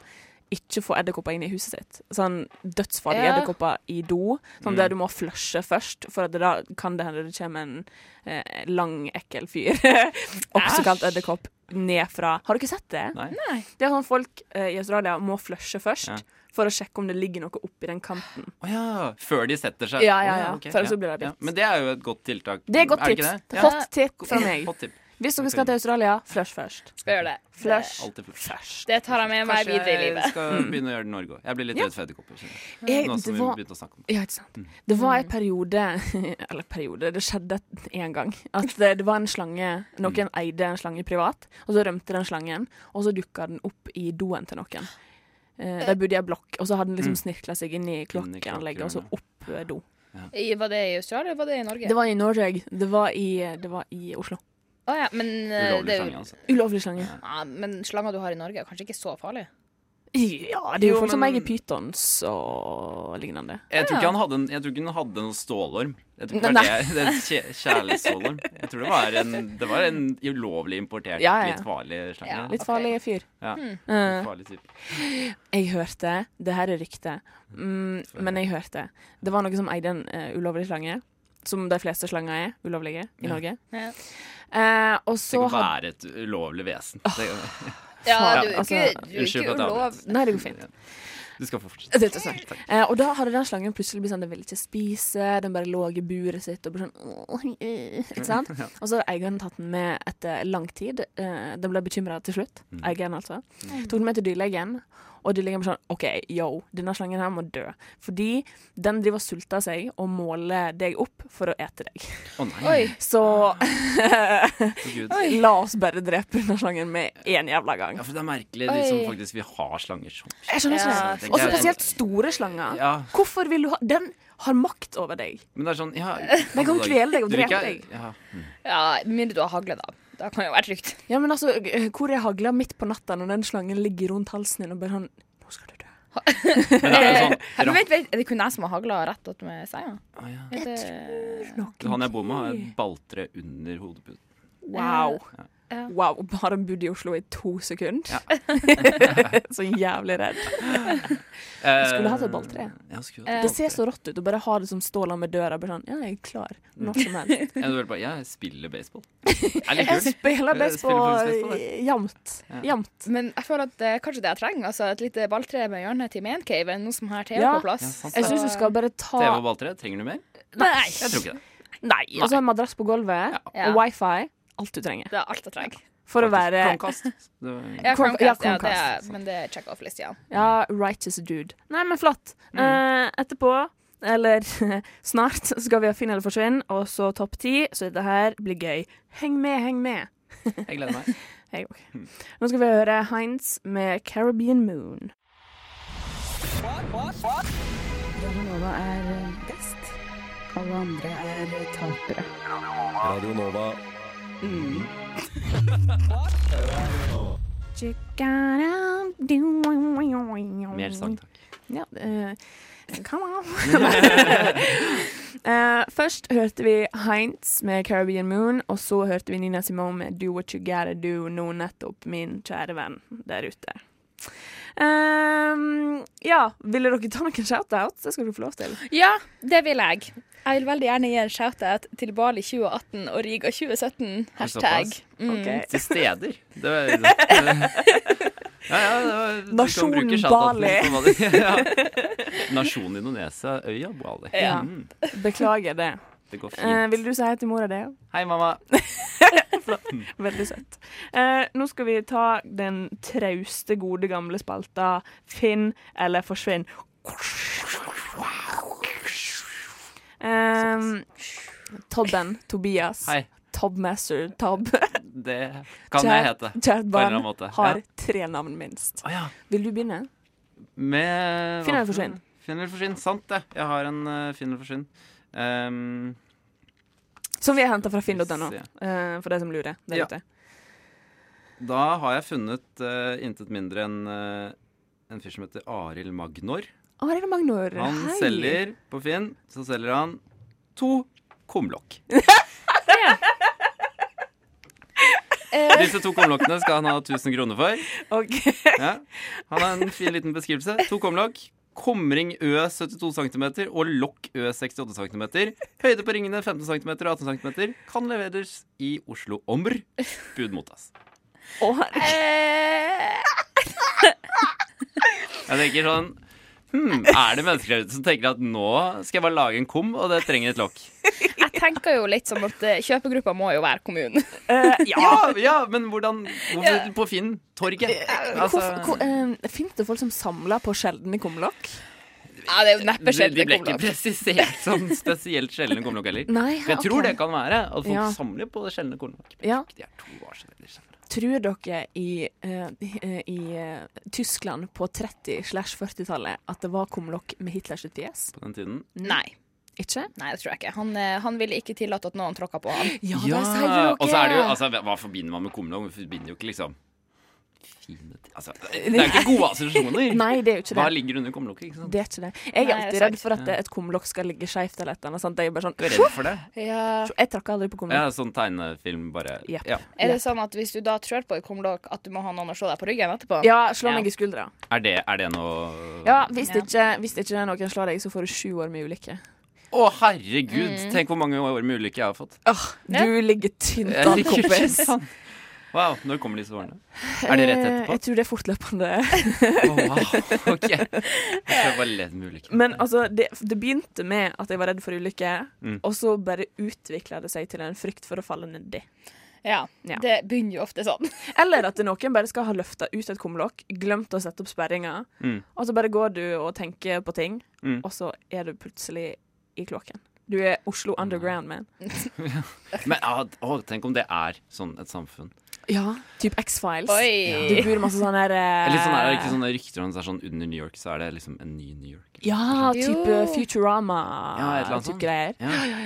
F: ikke få edderkopper inn i huset sitt. Sånn dødsfarlige
G: Ja.
F: edderkopper i do, sånn
D: Mm.
F: der du må flushe først, for at da kan det hende det kommer en eh, lang, ekkel fyr, også kalt edderkopp, ned fra Har du ikke sett det?
D: Nei.
F: Det er sånn folk eh, i Australia må flushe først.
D: Ja.
F: For å sjekke om det ligger noe oppi den kanten.
D: Å ja. Før de setter seg.
F: Ja, ja,
D: Å
F: ja.
D: ok.
F: For ellers så blir det bitt.
D: Men det er jo et godt tiltak.
F: Det er et godt
D: det
F: tips.
D: ikke det?
F: Hot tip fra
D: Ja.
F: meg.
D: Hot tip.
F: Hvis dere skal til Australia, flush først.
G: Skal gjøre det.
F: Flush
D: Alltid først.
F: først.
G: Det tar jeg med meg videre i
D: jeg
G: livet.
D: skal begynne å gjøre det i Norge òg. Jeg blir litt
F: Mm. Ja.
D: redd for edderkopper. kjenner jeg.
F: Jeg,
D: Nå
F: det
D: som vi
F: var
D: begynte å snakke om det.
F: Ja, ikke sant. Det var en periode Eller periode, det skjedde én gang. At det, det var en slange Noen eide en slange privat, og så rømte den slangen. Og så dukka den opp i doen til noen. Eh, der bodde jeg i blokk, og så hadde den liksom snirkla seg inn i
D: Inn i
F: kloakkeanlegget og så
D: kloakkrøret.
F: opp eh, do.
G: I, var det i Australia eller var det i Norge?
F: Det var i Norge. Det var i, det var i Oslo.
G: Å ja, men, eh, det er
D: Ulovlig
G: jo-
D: slange, altså.
F: Ulovlig slange.
G: ja, men slanger du har i Norge, er kanskje ikke så farlig?
F: Ja, det er jo,
D: Jo,
F: folk som
D: men-
F: eier pytons og lignende.
D: Jeg tror ikke han hadde, en, jeg tror ikke han hadde noen stålorm. Jeg tror ikke
F: Nei.
D: det var det, det er en kje- kjærlighetsstålorm. Jeg tror det var en, det var en ulovlig importert,
F: Ja, ja.
D: litt farlig slange.
G: Ja.
F: Litt
G: Ok.
F: farlig fyr.
D: Ja.
F: Eh,
D: Farlig type.
F: Jeg hørte Det her er rykte, mm, men jeg hørte Det var noen som eide en eh, ulovlig slange. Som de fleste slanger er ulovlige i Norge.
G: Ja.
F: Eh, og
D: Det
F: så
D: kan
F: hadde
D: være et ulovlig vesen. Det,
G: Ja, du er
F: Faen,
G: ikke,
F: altså,
G: du er
D: unnskyld
G: ikke
D: for at jeg
G: ulov...
D: avbrøt.
F: Nei, det går fint.
D: du skal få fortsette.
F: Det er ikke sant. Eh, og da hadde den slangen plutselig blitt sånn Den ville ikke spise, den bare lå i buret sitt og ble sånn «Åh, øh», Ikke sant? Og så hadde eieren tatt den med etter lang tid. Eh, den ble bekymra til slutt, eieren altså. Tok den med til dyrlegen, og dyrlegen ble sånn OK, yo, denne slangen her må dø. Fordi den driver og sulter seg og måler deg opp for å ete deg.
D: Å nei,
G: Oi.
F: Så Ah.
D: for gud.
F: la oss bare drepe denne slangen med én jævla gang.
D: Ja, for det er merkelig, de som
G: Oi.
D: faktisk vil ha slanger som
F: Jeg skjønner ikke
G: Ja,
F: det.
D: tenker
F: Og
D: jeg-
F: spesielt store slanger.
D: Ja,
F: Hvorfor vil du ha Den har makt over deg.
D: men det er sånn ja,
F: Den kan jo kvele deg og
D: Du vil
F: drepe
D: ikke-
F: deg.
D: Ja.
G: Ja, med mindre du har hagle, da. Da kan det jo være trygt.
F: Ja, men altså, g- hvor er hagla midt på natta når den slangen ligger rundt halsen din og bare sånn Nå skal du dø.
D: Men det er jo sånn
G: Men vent, vent, er det kun jeg som har hagla rett opp med seier?
D: Å, ja.
G: Er det-
F: Noen
D: Han jeg bor med, har et balltre under hodeputen.
F: Wow.
G: Ja.
F: Wow, Bare han bodde i Oslo i to sekunder. så jævlig redd. Skulle hatt et balltre.
D: Eh, Ja, skulle hatt et
F: Det ser
D: balltre.
F: så rått ut å bare ha det som står der med døra. Bare sånn, ja, jeg er klar når som helst.
D: Ja, du vil bare, jeg spiller baseball. Det er litt
F: Jeg
D: kult.
F: spiller
D: Spiller
F: baseball
D: faktisk baseball,
F: jevnt. Jevnt.
G: Men jeg føler at det er kanskje det jeg trenger. Altså Et lite balltre med hjørne til maincaven, nå som har TV
F: Ja.
G: på plass.
D: Ja, sant.
F: Jeg syns du skal bare
D: TV
F: ta
D: og balltre, trenger du mer?
G: Nei!
D: Jeg tror ikke det.
F: Nei. Og så en madrass på gulvet,
G: Ja.
F: og wifi. Alt du trenger.
G: Det er alt jeg trenger.
F: For å
D: Faktisk.
F: være
D: Chromecast. Det var-
G: Ja,
F: Chrome-
G: Chromecast,
F: ja,
G: ja, det er,
F: Chromecast.
G: men det er check off-list, ja.
F: Ja, righteous dude. Nei, men flott.
D: Mm.
F: Eh, etterpå, eller snart, så skal vi ha Finn eller forsvinn, og så topp ti, så dette her blir gøy. Heng med, heng med.
D: Jeg gleder meg.
F: Hei, ok.
D: Mm.
F: Nå skal vi høre Heinz med Caribbean Moon.
A: Nova er eh, best. Alle andre er eh, tapere. Mm.
B: Radio Nova.
F: Check it out, do-
D: Mer sang, takk.
F: Ja, eh, come on. Eh, først hørte vi Heinz med Caribbean Moon, og så hørte vi Nina Simone med Do What You Gotta Do, nå nettopp min kjære venn der ute. Ehm, ja, ville dere ta noen shoutouts? Det skal du få lov til.
G: Ja, det vil jeg. Jeg vil veldig gjerne gi en shout-out til Bali 2018 og Riga 2017. Hashtag.
D: såpass?
G: Mm.
F: Ok.
D: Til steder. Det var, det, ja, ja, det var, du kan
F: Nasjon
D: bruke shoutouten
F: Bali.
D: på Bali. ja. Nasjon Indonesia, øya Bali.
F: Ja.
D: Mm,
F: Beklager det.
D: det går
F: Eh,
D: fint.
F: vil du si hei til mora di?
D: Hei, mamma.
F: Veldig søtt. Eh, nå skal vi ta den trauste, gode, gamle spalta Finn eller forsvinn. Um, Tobben, Tobias,
D: Hei.
F: Tob Master, Tob,
D: Det kan jeg hete.
F: kjært
D: På en eller
F: barn,
D: annen måte. Ja.
F: har tre navn minst.
D: Å ja.
F: Vil du begynne?
D: Med
F: Finn eller
D: hva for
F: forsvinn?
D: noe? Finn eller forsvinn. Sant det. Jeg har en uh, Finn eller forsvinn. Ehm,
F: Som vi har henta fra finn.no,
D: Ja.
F: eh, for de som lurer der
D: Ja.
F: ute.
D: da har jeg funnet eh, intet mindre enn eh, en fyr som heter Arild Magnor.
F: Arild Magnor,
D: Han
F: hei.
D: selger på Finn, så selger han to kumlokk.
G: Eh,
D: Disse to kumlokkene skal han ha 1000 kroner for.
F: Ok.
D: Ja. Han har en fin liten beskrivelse. To kumlokk. Kumring Ø 72 cm og Lokk Ø 68 cm. Høyde på ringene 15 cm og 18 cm. Kan leveres i Oslo Omr. Bud mottas.
F: Å, herregud.
G: eh,
D: Jeg tenker sånn hmm, Er det mennesker der ute som tenker at nå skal jeg bare lage en kum, og det trenger et lokk?
G: jeg tenker jo litt sånn at eh, kjøpegruppa må jo være kommunen.
F: Eh, ja.
D: Ja, ja, men hvordan Hvorfor på Finn? Torget? Altså,
F: Hvorfor- hvor- eh, Fins det folk som samler på sjeldne kumlokk?
G: Ja, det er jo neppe
D: de, de
G: sjeldent
D: ble ikke
G: kumlokk.
D: presisert som spesielt sjeldne kumlokk heller.
F: Nei,
D: For jeg tror det kan være at folk
F: Ja.
D: samler på det sjeldne kumlokk. men
F: Ja.
D: De er to år siden. eller sjeldne.
F: Tror dere i, eh, eh, i eh, Tyskland på 30-40-tallet at det var kumlokk med Hitlers fjes?
D: På den tiden.
G: Nei,
F: Ikke?
G: nei, det tror jeg ikke. Han, eh, han ville ikke tillate at noen tråkka på han.
F: Ja,
D: Ja,
F: det sier dere!
D: Og så er det jo, altså, hva forbinder man med kumlokk? Man forbinder jo ikke liksom fine ti- altså, Det er ikke gode assosiasjoner.
F: Eh, Nei, det er jo ikke det.
D: Hva ligger under kumlokket? ikke sant?
F: Det er ikke det. Jeg
G: Nei,
F: er alltid
G: det er
F: redd for at eh, et kumlokk skal ligge skeivt eller et eller annet. sant? Jeg er bare
D: Du er
F: sånn
D: redd for det?
G: Ja.
F: Jeg trakk aldri på
D: Ja,
F: kumlokk.
D: sånn tegnefilm, bare.
F: Jepp.
D: Ja.
G: Er det sånn at hvis du da trør på et kumlokk, at du må ha noen å slå deg på ryggen etterpå?
F: Ja, slå
D: Ja.
F: meg i skuldra.
D: Er, det, er det noe
F: Ja, hvis,
G: Ja.
F: Ikke, hvis ikke noen slår deg, så får du sju år med ulykke.
D: Å, herregud! Tenk hvor mange år med ulykke jeg har fått.
F: Du ligger tynt
D: Jeg
F: an,
D: liker ikke
F: kompis.
D: sånn. Wow, Når kommer disse årene? Er det rett
F: Eh,
D: etterpå?
F: Jeg tror det er fortløpende.
D: Å, wow, ok. Jeg tror jeg bare ledd med ulykken.
F: Men altså, det, det begynte med at jeg var redd for ulykker,
D: Mm.
F: og så bare utvikla det seg til en frykt for å falle nedi.
G: Ja,
F: Ja.
G: Det begynner jo ofte sånn.
F: Eller at noen bare skal ha løfta ut et kumlokk, glemt å sette opp sperringa,
D: Mm.
F: og så bare går du og tenker på ting,
D: Mm.
F: og så er du plutselig i kloakken. Du er Oslo underground, man.
D: Men ja, å, tenk om det er sånn et samfunn.
F: Ja, typ X-Files. Du
G: Oi!
F: bor masse sånn her eh,
D: Eller sånn er det ikke sånne rykter om det er sånn under New York, så er det liksom en ny New York.
F: Ja, type
G: Jo.
F: Futurama.
D: Ja, et eller annet sånn. sånt.
F: type greier.
D: Ja, ja,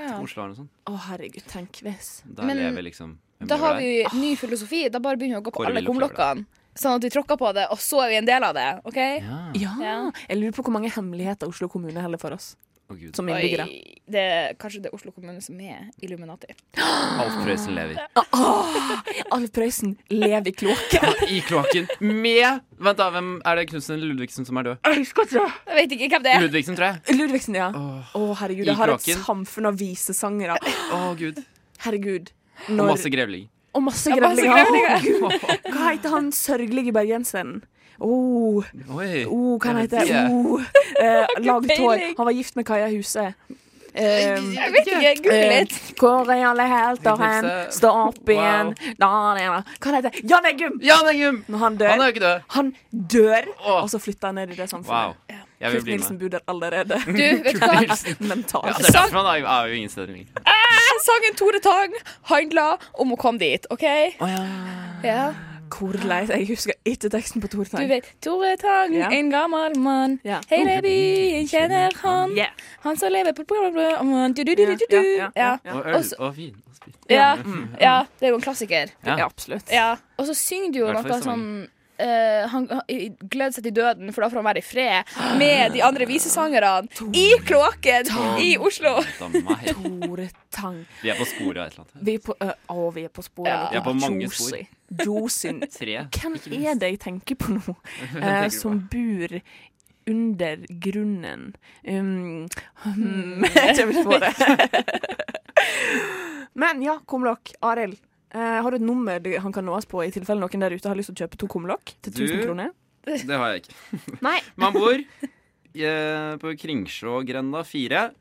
D: ja, Oslo har noe sånt.
F: Å, herregud, tenk hvis.
D: Der
G: Men
D: lever liksom hvem
G: Da
D: lever
G: har
D: der?
G: vi ny filosofi. Da bare begynner vi å gå på
D: Kåre
G: alle
D: vil oppleve
G: kumlokkene. Sånn at vi tråkker på det, og så er vi en del av det. OK?
D: Ja.
F: Ja.
G: Ja.
F: Jeg lurer på hvor mange hemmeligheter Oslo kommune holder for oss
D: Å, gud.
F: som
G: Oi,
F: innbyggere.
G: det er kanskje det er Oslo kommune som er Illuminati.
D: Alf Prøysen lever.
F: Alf Prøysen lever i kloakken.
D: I kloakken med Vent, da. Hvem er det Knutsen eller Ludvigsen som er død?
F: Jeg husker ikke!
G: Jeg vet ikke hvem det er.
D: Ludvigsen, tror jeg.
F: Ludvigsen, ja. Å, herregud.
D: I
F: Jeg har et
D: kloakken.
F: samfunn av visesangere.
D: Å, gud.
F: Herregud.
D: Og
F: Når,
D: masse grevling.
F: og masse
G: Ja, masse
F: grevlinger. Å,
G: grevlinger.
F: Gud. Hva heter han sørgelige bergenseren? Oh,
D: Oi.
F: oh, hva han
D: Jeg
F: heter
D: vet ikke.
F: oh, eh, Langt hår.
G: peiling.
F: Han var gift med Kaja Huse. Um,
G: Jeg vet ikke. Google
F: Eh,
G: litt.
F: hvor er alle helter hen?
D: Knipse.
F: Stå opp igjen.
D: Wow.
F: Da, da, da. Hva heter han? Jan Eggum!
D: Jan Eggum!
F: Når han dør.
D: Han er jo ikke død.
F: Han dør,
D: Åh.
F: og så flytter han ned i det samfunnet.
D: Wow. Jeg vil
F: Kurt
D: bli
F: Nilsen
D: med.
F: bor der allerede.
G: Du, vet du hva?
F: Mentalt.
D: Ja, det er derfor han er, er jo ingen steder lenger.
G: Sangen Tore Tang handla om å komme dit, OK?
D: Å, ja.
G: Ja.
F: Hvordan? Jeg husker ikke teksten på Tore
G: Du
F: Tang.
G: vet, Tore Tang,
F: Ja.
G: en gammel mann.
F: Ja.
G: Hele byen kjenner han.
F: Yeah.
G: Han som lever på programmet du, du, du, du, du, du.
F: Ja, ja, ja,
G: Ja.
F: ja.
D: Og øl
G: Også-
D: og vin og sprit.
G: Ja. Mm. ja, det er jo en klassiker.
D: Mm. Ja.
F: Ja, absolutt.
G: Ja. Og så synger du jo
D: I hvert
G: noe
D: fall i
G: sånn eh, han han- i- gleder seg til døden, for da får han være i fred med de andre visesangerne i kloakken i Oslo.
D: Da meg.
F: Tore Tang.
D: Vi er på sporet av et eller annet.
F: Vi er på, ø, å, vi er på sporet.
G: Ja.
F: av noe
D: Vi er på mange
F: juicy. Juicing.
D: Tre.
F: Hvem
D: ikke minst.
F: er det jeg tenker på nå,
D: Hvem
F: eh,
D: tenker du
F: som
D: på?
F: bor under grunnen? Um, hmm, jeg kommer ikke på det. Men ja, kumlokk. Arild, eh, har du et nummer du- han kan nås på i tilfelle noen der ute har lyst til å kjøpe to kumlokk til
D: Du-
F: 1000 kroner?
D: Det har jeg ikke.
F: Nei.
D: Man bor eh, på Kringsjågrenda 4.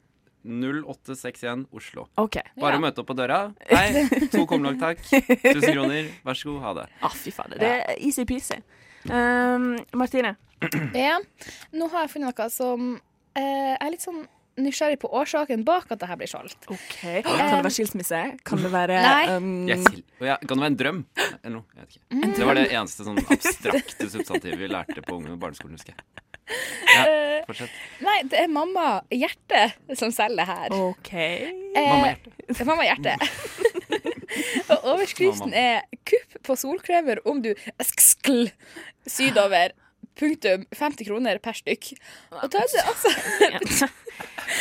D: 0861 Oslo.
F: OK.
D: Bare å møte opp på døra. Hei, to kumlokk, takk. 1000 kroner. Vær så god, ha det.
F: Ah, fy fader. Det er easy-peasy. Um, Martine.
G: Ja. Nå har jeg funnet noe som eh, jeg er litt sånn nysgjerrig på årsaken bak at det her blir solgt.
F: Ok. Kan det være skilsmisse? Kan det være
G: Nei.
F: um,
D: Jeg sil- Å ja, kan det være en drøm? Eller noe? Jeg vet
F: Mm.
D: ikke. Det var det eneste sånn abstrakte substantivet vi lærte på ungdom- og barneskolen, husker jeg.
F: Eh.
D: Ja, fortsett.
G: Nei, det er mamma Hjerte som selger her.
F: OK.
G: Eh, det er Mamma Hjerte. Og overskriften
D: Mamma.
G: er 'Kupp på solkremer om du skskl sydover'. Punktum. 50 kroner per stykk. Og da er det altså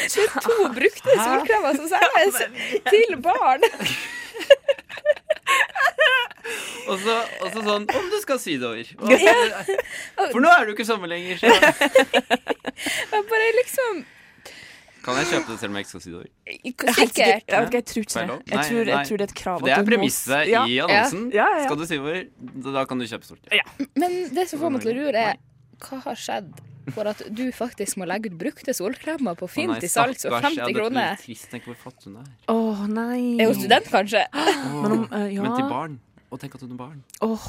G: Det er to brukte solkremer som selges til barn.
D: Og så, og så sånn Om du skal sydover. Og, for nå er du ikke sommer lenger. Så.
G: Jeg bare liksom
D: Kan jeg kjøpe det selv om jeg ikke skal sydover?
G: Sikkert.
F: Jeg, vet ikke, jeg tror ikke
D: Feil
F: det.
D: lov?
F: Jeg
D: Nei,
F: tror,
D: nei.
F: jeg tror det er et krav.
D: For det
F: at
D: er
F: du må-
D: premisset
F: ja.
D: i annonsen.
F: Ja, ja, ja.
D: Skal du sydover, da kan du kjøpe stort.
G: Men det som får meg til å lure, er hva har skjedd for at du faktisk må legge ut brukte solkremer på Finn til salgs for 50
D: Det
G: kroner?
D: er trist, tenk hvor flott hun er.
F: Å, nei.
G: Er hun student, kanskje?
F: Men, om, eh, ja.
D: Men til barn. Og tenk at hun er barn.
F: Åh,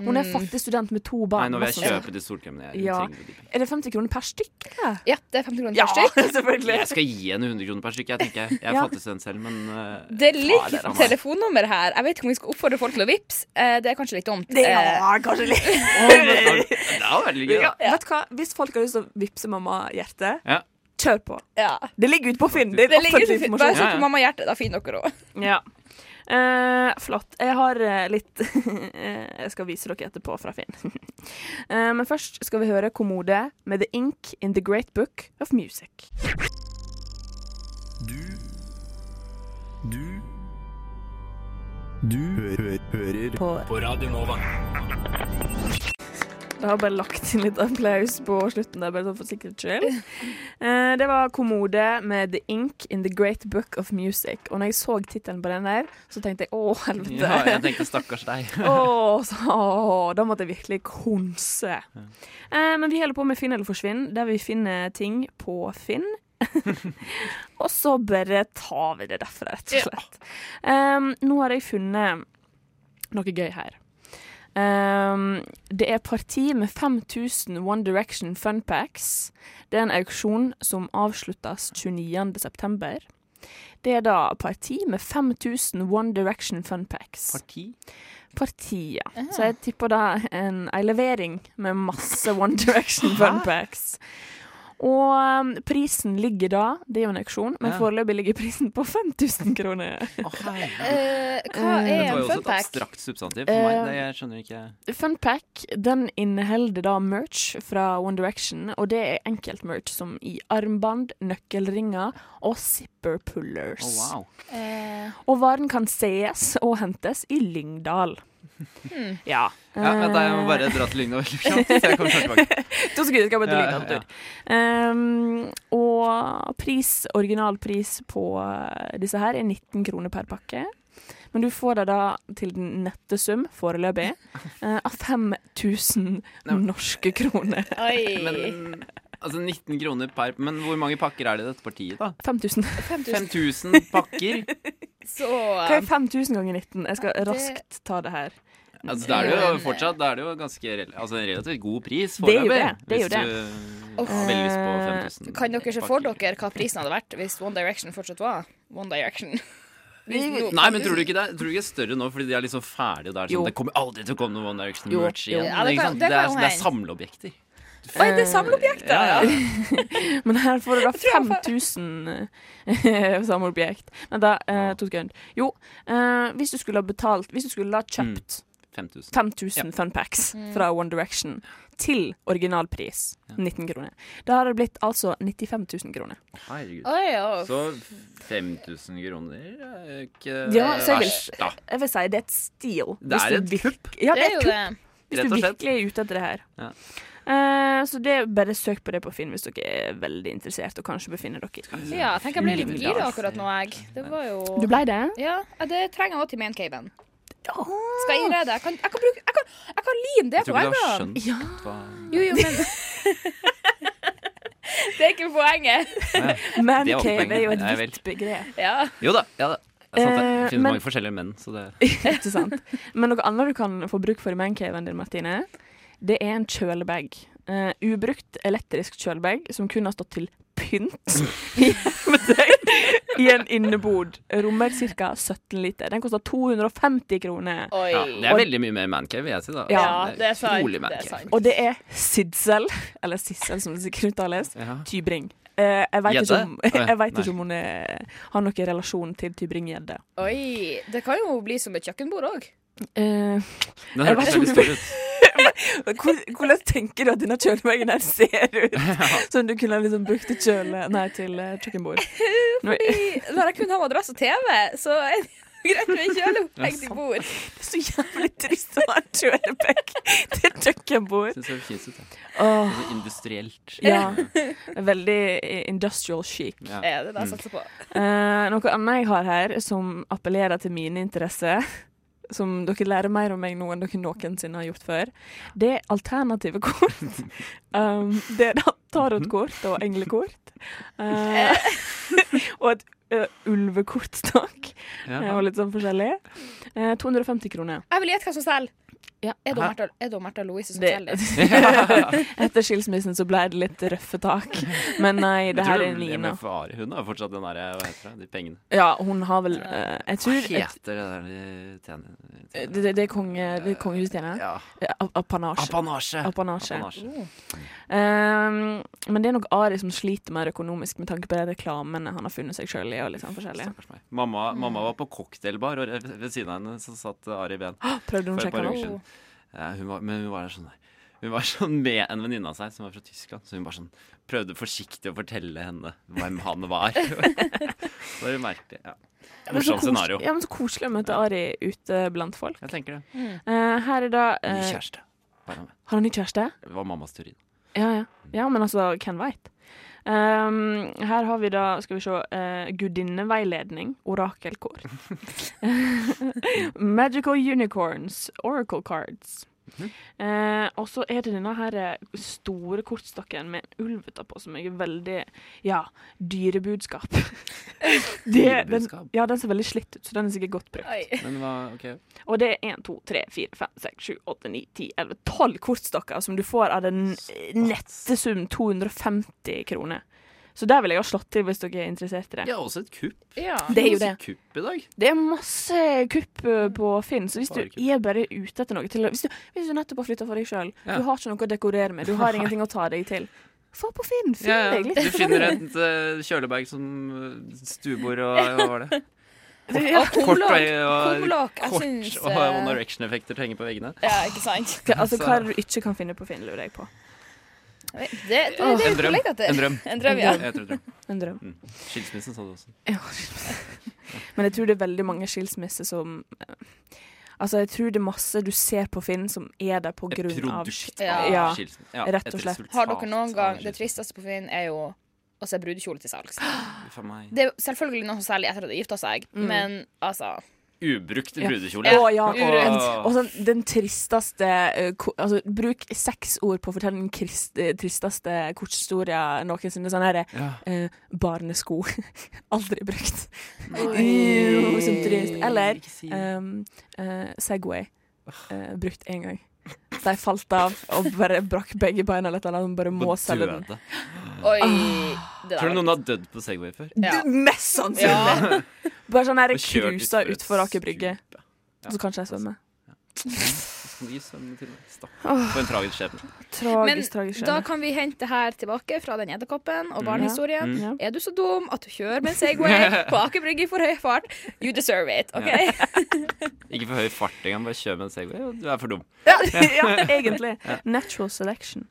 F: hun
G: Mm.
F: er fattig student med to
D: Nei,
F: barn.
D: nå vil jeg
F: Masse-
D: kjøpe de solkremene. Jeg,
F: Ja.
D: trenger de pengene.
F: Er det 50 kroner per stykk? eller?
G: Ja, det er 50 kroner per stykk.
F: selvfølgelig.
D: jeg skal gi henne 100 kroner per stykk. Jeg tenker, jeg er
F: Ja.
D: fattig student selv, men eh,
G: Det
D: fader,
G: ligger
D: altså.
G: telefonnummer her. Jeg vet ikke om vi skal oppfordre folk til å vippse. Eh, Det er kanskje litt dumt. Eh,
F: kanskje litt.
D: Det hadde vært litt gøy. da.
F: Vet du hva? Hvis folk har lyst til å vippse mamma hjertet,
D: Ja.
F: kjør på.
G: Ja.
F: Det ligger ute på Finn. Det
G: Det
F: er
G: ligger
F: offentlig
G: litt
F: informasjon.
G: Bare
D: Ja,
G: søk
D: ja.
G: på Mamma Hjerte, da finner dere henne.
F: Ja. Eh, flott. Jeg har eh, litt eh, Jeg skal vise dere etterpå fra Finn. Eh, men først skal vi høre Kommode med The Ink in The Great Book of Music.
B: Du Du Du hø hø hører på. Radio Nova.
F: Jeg har bare lagt inn litt applaus på slutten der, bare sånn for sikkerhets skyld. Eh, det var Kommode med The Ink in The Great Book of Music. Og når jeg så tittelen på den der, så tenkte jeg å, helvete.
D: Ja, jeg tenkte stakkars deg.
F: Åh, så, åh, da måtte jeg virkelig konse. Eh, men vi holder på med Finn eller forsvinn, der vi finner ting på Finn. og så bare tar vi det derfra, rett og slett. Um, nå har jeg funnet noe gøy her. Um, det er parti med 5000 One Direction Fun Packs. Det er en auksjon som avsluttes 29. september. Det er da parti med 5000 One Direction Fun Packs
D: Parti?
F: partiet. Så jeg tipper da en, ei levering med masse One Direction funpacks. Og um, prisen ligger da, det er jo en auksjon, men
D: Ja.
F: foreløpig ligger prisen på 5000 kroner.
D: Å, herregud.
G: Eh, Hva er
D: Det var
G: en
D: jo også et
G: funpack?
D: abstrakt substantiv for meg.
F: Eh,
D: Det, jeg skjønner ikke
F: Funpack den inneholder da merch fra One Direction, og det er enkelt merch som i armbånd, nøkkelringer og zipper
D: Å,
F: pullers.
D: Oh, wow.
G: Eh,
F: Og varen kan sees og hentes i Lyngdal.
D: Hmm.
F: Ja.
D: Ja, vent, da, jeg må bare dra til Lyngdal veldig kjapt. så Jeg kommer snart tilbake.
F: To sekunder skal jeg bare
D: Ja,
F: delete
D: ja,
F: alt ut. Ehm, og pris, originalpris på eh, disse her er 19 kroner per pakke. Men du får det da til den nette sum, foreløpig, eh, av 5000 norske kroner.
G: Oi.
D: Men altså 19 kroner per Men hvor mange pakker er det i dette partiet, da?
F: 5000.
D: 5000 pakker?
G: Så
F: Hva er 5000 ganger 19? Jeg skal raskt ta det her.
D: Altså, da er det jo fortsatt Da er det jo ganske rel altså, en relativt god pris
F: Eh. Det er jo
D: foreløpig.
F: det, det Eh, er jo det.
D: Hvis du har veldig lyst på 5000
G: kan dere se
D: pakker.
G: for dere hva prisen hadde vært hvis One Direction fortsatt var One Direction? Hvis nå-
D: Nei, men tror du ikke det, tror du ikke det er større nå fordi de er liksom ferdige der?
F: Jo.
D: Sånn, det kommer aldri til å komme noe One Direction
F: Jo,
D: merch
F: jo.
D: igjen.
G: Ja, det
D: ikke
G: kan-
D: sant?
G: det kan jo
D: det, er, det er
G: hende.
D: samleobjekter.
G: Oi, det er samleobjekter!
D: Ja, ja.
F: Men her får du da 5000 eh, samme objekt. Vent, da. eh, to sekunder. Jo, eh, hvis du skulle ha betalt Hvis du skulle ha kjøpt
D: 5000.
F: 5000 funpacks
D: Mm.
F: fra One Direction til originalpris, 19 kroner. Da har det blitt altså 95 000 kroner.
D: Herregud.
G: Oi, ja.
D: Så 5000 kroner er ikke
F: Ja, så jeg vil-
D: verst, da.
F: Jeg vil si det er et steal.
D: Det
F: hvis
D: er
F: du
D: et
F: virk-
D: kupp.
F: Ja,
G: Det
F: det
G: er
F: er
G: jo
F: et kupp,
G: det.
F: hvis
D: rett
F: du
D: og slett.
F: virkelig er ute etter det her.
D: Ja.
F: Eh, så det er bare søk på det på Finn hvis dere er veldig interessert og kanskje befinner dere i
G: Ja, jeg tenker jeg ble litt gira akkurat nå, jeg. Det var jo
F: Du blei det?
G: Ja, det trenger jeg òg til maincaven.
F: Ja.
G: Skal jeg innrede? Jeg kan, jeg kan, bruke, jeg kan, jeg kan lime det
D: Jeg
G: på
D: tror ikke du har
G: veggene.
D: skjønt
F: Ja.
D: hva
G: Jo, jo, men Det er ikke poenget.
F: Man
D: Det var
F: cave er jo
D: poenget.
F: et
D: Nei vel.
F: vidt begrep.
G: Ja.
D: Jo da. Ja, da. Det er sant, det.
F: Eh,
D: Det finnes
F: men-
D: mange forskjellige menn, så det
F: Ikke sant? Men noe annet du kan få bruk for i mancaven din, Martine, det er en kjølebag. eh, ubrukt elektrisk kjølebag som kun har stått til pynt i hjemmetøy i en innebod. Rommer ca. 17 liter. Den koster 250 kroner.
G: Oi.
D: Ja, det er veldig mye mer mancave, vil jeg si. da
G: Ja, det er sant.
D: Utrolig
G: Det er
D: mancave.
G: sant.
F: Og det er Sidsel, eller Sissel som det sikkert uttales,
D: Ja.
F: Tybring. Eh, jeg vet ikke,
D: Gjedde?
F: om,
D: Å ja,
F: jeg vet
D: nei.
F: ikke om hun er, har noen relasjon til Tybring-gjedde.
G: Oi. Det kan jo bli som et kjøkkenbord òg.
F: Eh,
D: Den
F: Jeg vet
D: hørtes veldig
F: ikke om-
D: stor ut.
F: hvor- hvordan tenker du at denne kjølebagen her ser ut? Som du kunne liksom brukt til kjøle... Nei, til eh, kjøkkenbord. Nå,
G: Når jeg kun har madrass og TV, så er det greit med en kjøleopplegg til bord.
F: så jævlig trist å ha en kjølebag til et kjøkkenbord.
D: Synes det høres fint ut. ja.
F: Åh,
D: Litt Industrielt.
F: ja. Veldig industrial chic.
D: Ja.
G: Er det det jeg satser på?
F: Eh, noe annet jeg har her som appellerer til mine interesser, som dere lærer mer om meg nå enn dere noensinne har gjort før, det er alternative kort. um, det er da tarotkort og englekort. Eh, og et eh, ulvekortstokk. eh,
D: Ja.
F: Og litt sånn forskjellig. Eh, 250 kroner.
G: Jeg vil gjette hva som selger.
F: Ja.
G: Er det Martha, er det Martha Louise som
F: Det-
G: selger?
F: Etter skilsmissen så ble det litt røffe tak. Men nei, det
D: Jeg tror
F: her er
D: det-
F: Nina.
D: men for Ari, Hun har fortsatt den derre Hva heter det? De pengene.
F: Ja, hun har vel eh, Jeg
D: Hva
F: tror Eh, et,
D: heter det der de tjener?
F: det, det, det er konge, det er kongehusstjerne.
D: Ja.
F: Eh, ap- Apanasje.
D: Apanasje.
F: Apanasje. Oh,
D: Apanasje.
F: Ehm, men det er nok Ari som sliter mer økonomisk med tanke på de reklamene han har funnet seg sjøl i. og litt sånn forskjellig.
D: Stakkars meg. Mamma,
F: Mm.
D: mamma var på cocktailbar, og re- ved siden av henne så satt Ari Ben.
F: Prøvde hun å
D: For
F: sjekke
D: et par
F: han
D: uker siden. Ja, hun var, men hun var der sånn der. Hun var sånn med en venninne av seg som var fra Tyskland. Så hun bare sånn prøvde forsiktig å fortelle henne hvem han var. det var jo merkelig. Ja.
F: Men så
D: Morsomt
F: kos-
D: scenario.
F: Ja, men Så koselig å møte Ari ute blant folk.
D: Jeg tenker det.
F: Eh, her er da
D: Ny
F: eh,
D: kjæreste. Bare med.
F: Har han ny kjæreste?
D: Det var mammas teori.
F: Ja, ja. ja men altså, hvem veit? Ehm, her har vi da, skal vi se, eh, gudinneveiledning, orakelkort. Magical unicorns, oracle cards. Eh, og så er det denne her eh, store kortstokken med en ulv utapå, som jeg er veldig Ja, dyrebudskap. Det- den-
D: Dyrebudskap?
F: Ja, den ser veldig slitt ut, så den er sikkert godt brukt.
G: Oi.
D: Men hva, ok.
F: Og det er 1, 2, 3, 4, 5, 6, 7, 8, 9, 10, 11, 12 kortstokker som du får av den eh, nette sum 250 kroner. Så der vil jeg ha slått til hvis dere er interessert i det.
D: Ja, også et kupp.
G: Ja.
F: Det er jo det.
D: Kupp i dag.
F: Det er masse kupp eh, på Finn, så hvis du
D: Bare kupp.
F: er bare ute etter noe til å- Hvis du, hvis du nettopp har flytta for deg sjøl,
D: Ja.
F: du har ikke noe å dekorere med, du har ingenting å ta deg til, få på Finn. Finn
D: Ja, ja.
F: deg litt.
D: Du finner et uh, kjølebag som eh, stuebord og hva var det? Kort, kort og, og,
G: Kumlokk. Jeg syns
D: kort
F: eh,
D: og One Direction-effekter henger på veggene.
G: Ja, ikke sant?
F: Hva- Altså, hva er det du ikke kan finne på Finn, lurer jeg på.
G: Det, det, det,
F: Åh.
G: det er
D: En drøm.
G: kollega
D: En
G: til.
D: drøm.
G: En drøm, ja.
D: Jeg tror det.
F: En drøm.
D: Skilsmissen sa du også.
F: Ja. Men jeg tror det er veldig mange skilsmisser som eh, Altså, jeg tror det er masse du ser på Finn som er der på
D: Et
F: grunn av
D: produkt
G: Ja.
D: av
F: Ja,
D: skilsmissen. Ja,
F: rett og
D: et
F: slett.
D: resultat
G: Har dere noen
D: av
G: gang Det
D: skilsmissen.
G: tristeste på Finn er jo å se brudekjole til salgs.
D: For meg.
G: Det er jo selvfølgelig noe som selger etter at de har gifta seg, men altså
D: Ubrukt brudekjole.
F: Å ja.
D: Urent.
F: Og sånn, den tristeste eh, ko- altså, Bruk seks ord på å fortelle den krist, eh, tristeste kortstoria noensinne. Sånn her
D: Ja.
F: eh, Barnesko. Aldri brukt. Jo, så trist. Eller
D: Ikke si det.
F: um, eh, Segway. Eh, brukt én gang. De falt av og bare brakk begge beina. Eller et eller annet. Hun bare må
D: Og
F: selge den.
D: døde.
G: Oi. Det
D: Ah. Tror
G: der.
D: du noen har dødd på Segway før?
G: Ja.
F: Du, mest sannsynlig!
G: Ja.
F: Bare sånn her
D: Og kjørt
F: cruisa
D: utfor et
F: utfor Aker Brygge,
D: skup, ja.
F: så kanskje jeg svømmer.
D: Skal vi svømme til meg? Stakkars. For en tragisk skjebne.
G: Men
F: Tragisk, tragisk
G: da
F: skjebne.
G: kan vi hente her tilbake fra den edderkoppen
D: Mm.
G: og barnehistorien.
F: Ja.
G: Er du så dum at du kjører med en Segway på Aker Brygge i for høy fart? You deserve it. OK?
D: Ikke for høy fart engang, bare kjør med en Segway. og Du er for dum.
F: Ja, ja, egentlig. Natural selection.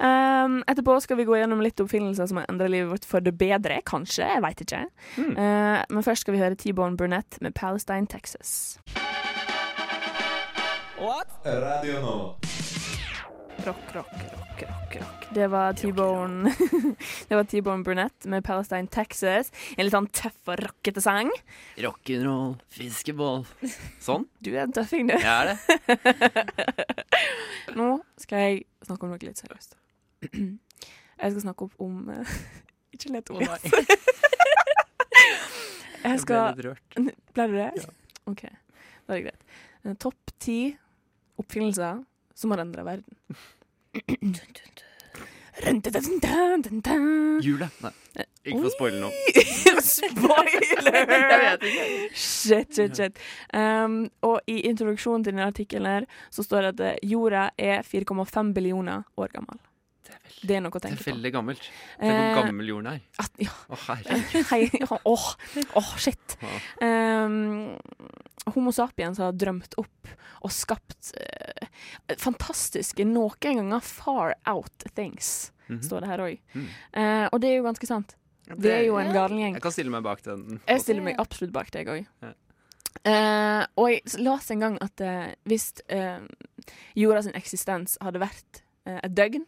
F: Um, etterpå skal vi gå gjennom litt oppfinnelser som har endret livet vårt for det bedre, kanskje. Jeg veit ikke. Uh, men først skal vi høre T-Bone Burnett med Palestine, Texas.
I: Radio Nova.
F: Rock, rock, rock, rock, rock. Det var T-Bone Det var T-Bone Burnett med Palestine, Texas. En litt sånn tøff og rockete sang.
D: Rock'n'roll, fiskeball. Sånn.
F: Du er en tøffing, du.
D: Jeg er det.
F: Nå skal jeg snakke om noe litt seriøst. Jeg skal snakke opp om eh, Ikke le, Tobias. Jeg skal
D: litt rørt.
F: Ble du det? OK, da er det greit. Eh, Topp ti oppfinnelser som har endra verden.
D: Hjulet. Nei. Ikke for å spoile nå.
F: Spoiler! Shit, shit, shit. Um, og i introduksjonen til denne artikkelen her, så står det at eh, jorda er 4,5 billioner år gammel. Det er noe å
D: Det
F: tenke
D: er
F: på.
D: veldig gammelt. Tenk hvor
F: Eh,
D: gammel jorden er.
F: At, ja,
D: Å, herregud.
F: hei, ja, åh, åh, shit. Um, Homo sapiens har drømt opp og skapt eh, fantastiske, noen ganger far out things,
D: Mhm.
F: står det her òg. Eh, og det er jo ganske sant. Vi er jo en galen gjeng.
D: Jeg kan stille meg bak den.
F: Jeg stiller meg absolutt bak deg òg.
D: Ja.
F: Eh, og jeg s- las en gang at eh, hvis eh, jorda sin eksistens hadde vært eh, et døgn,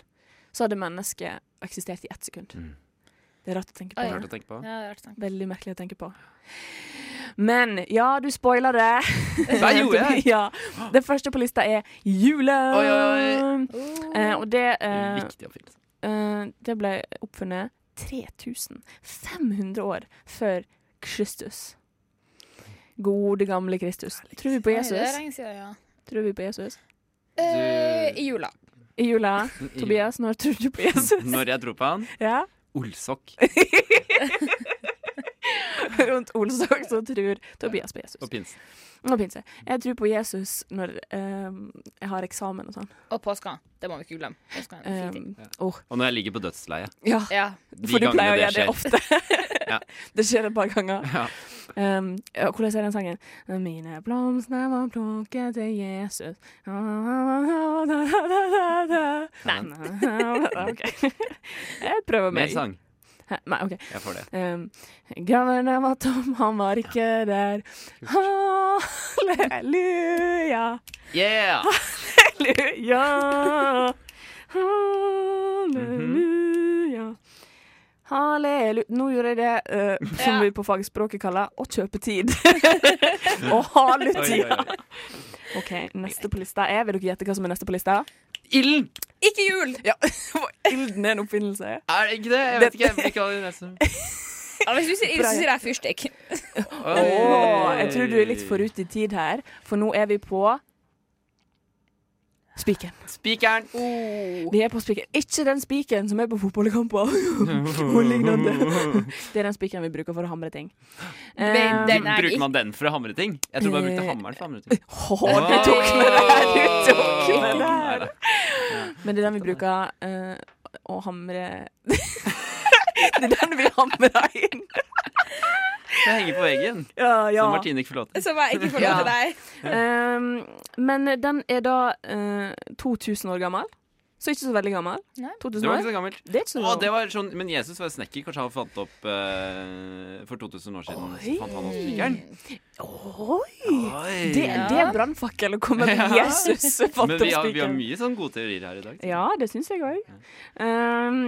F: så hadde mennesket eksistert i ett sekund.
D: Mm.
F: Det er rart å tenke på.
G: Oi.
D: Rart å tenke på.
G: Ja, det er rart å tenke.
F: Veldig merkelig å tenke på. Men ja, du spoiler det.
D: Hva gjorde jeg?
F: ja. Det første på lista er julen.
D: Oi, oi,
F: Eh, og det eh,
D: Viktig å finne.
F: Eh, det ble oppfunnet 3500 år før Kristus. Gode, gamle Kristus. Tror vi på
G: Oi, det er
F: Jesus?
G: lenge siden, ja.
F: Tror vi på Jesus?
G: Eh, I jula.
F: I jula. Tobias, når tror du på Jesus?
D: Når jeg tror på han
F: Ja.
D: Olsok
F: Rundt Olsok så tror Tobias på Jesus.
D: og pinsen.
F: Og pinse. Jeg tror på Jesus når eh, jeg har eksamen og sånn.
G: Og påska. Det må vi ikke glemme. Påska er en fin ting.
F: Um, oh,
D: Og når jeg ligger på dødsleiet.
F: ja.
G: Ja.
D: De
F: For du pleier å
D: gangene
F: gjøre det ofte.
D: Ja.
F: Det skjer et par ganger.
D: Ja.
F: Um, og hvordan er den sangen? Mine blomster var plukket til Jesus Nei. OK. Jeg prøver
D: Mer
F: meg.
D: sang.
F: Hæ? Nei, OK.
D: Jeg får det.
F: Um, Graven var tom, han var ikke der. Halleluja,
D: Yeah!
F: halleluja. Halleluja. Hallelu... Nå gjorde jeg det eh, som
G: Ja.
F: vi på fagspråket kaller å kjøpe tid. Å ha
D: Oi,
F: litt
D: oi,
F: tid.
D: oi.
F: OK, neste på lista er Vil dere gjette hva som er neste på lista?
D: Ilden!
G: Ikke jul! Ja.
F: Ilden er en oppfinnelse.
D: Er det ikke det? Jeg vet ikke. Vi kaller det nesten
G: hvis du sier ild, så sier jeg fyrstikk.
F: Åh, jeg tror du er litt forut i tid her, for nå er vi på Spiken.
D: Spikeren.
G: Oh.
F: Vi er på spiken. Ikke den spiken som er på fotballkamper og lignende. Det er den spiken vi bruker for å hamre ting.
G: Men
F: Eh,
G: den er
D: Bruker
G: ikke
D: man den for å hamre ting? Jeg tror man brukte hammeren for å hamre ting.
F: Åh, du
D: Ah.
F: tok med det her! Du tok med det
D: Nei,
F: her!
D: da.
F: Men det er den vi bruker eh, å hamre Det er den vi hamrer inn.
D: Det henger på veggen.
F: Ja, ja.
D: Som Martine ikke får lov til.
G: Som jeg ikke får lov
F: Ja.
G: til deg.
F: Um, men den er da eh, 2000 år gammel. Så ikke så veldig gammel.
G: Nei.
F: 2000
D: Det var
F: år.
D: ikke så gammelt.
F: Det er ikke så
D: Å, det
F: gammel.
D: var sånn, men Jesus var snekker. Kanskje han fant opp eh, for 2000 år siden. Så
F: Oi.
D: fant han opp spikeren.
F: Oi!
D: Oi.
F: Det, det er brannfakkel å komme med Jesus fant
D: Men
F: opp
D: vi har, vi har
F: spikeren.
D: mye sånn gode teorier her i dag.
F: Ja, det syns jeg òg. Um,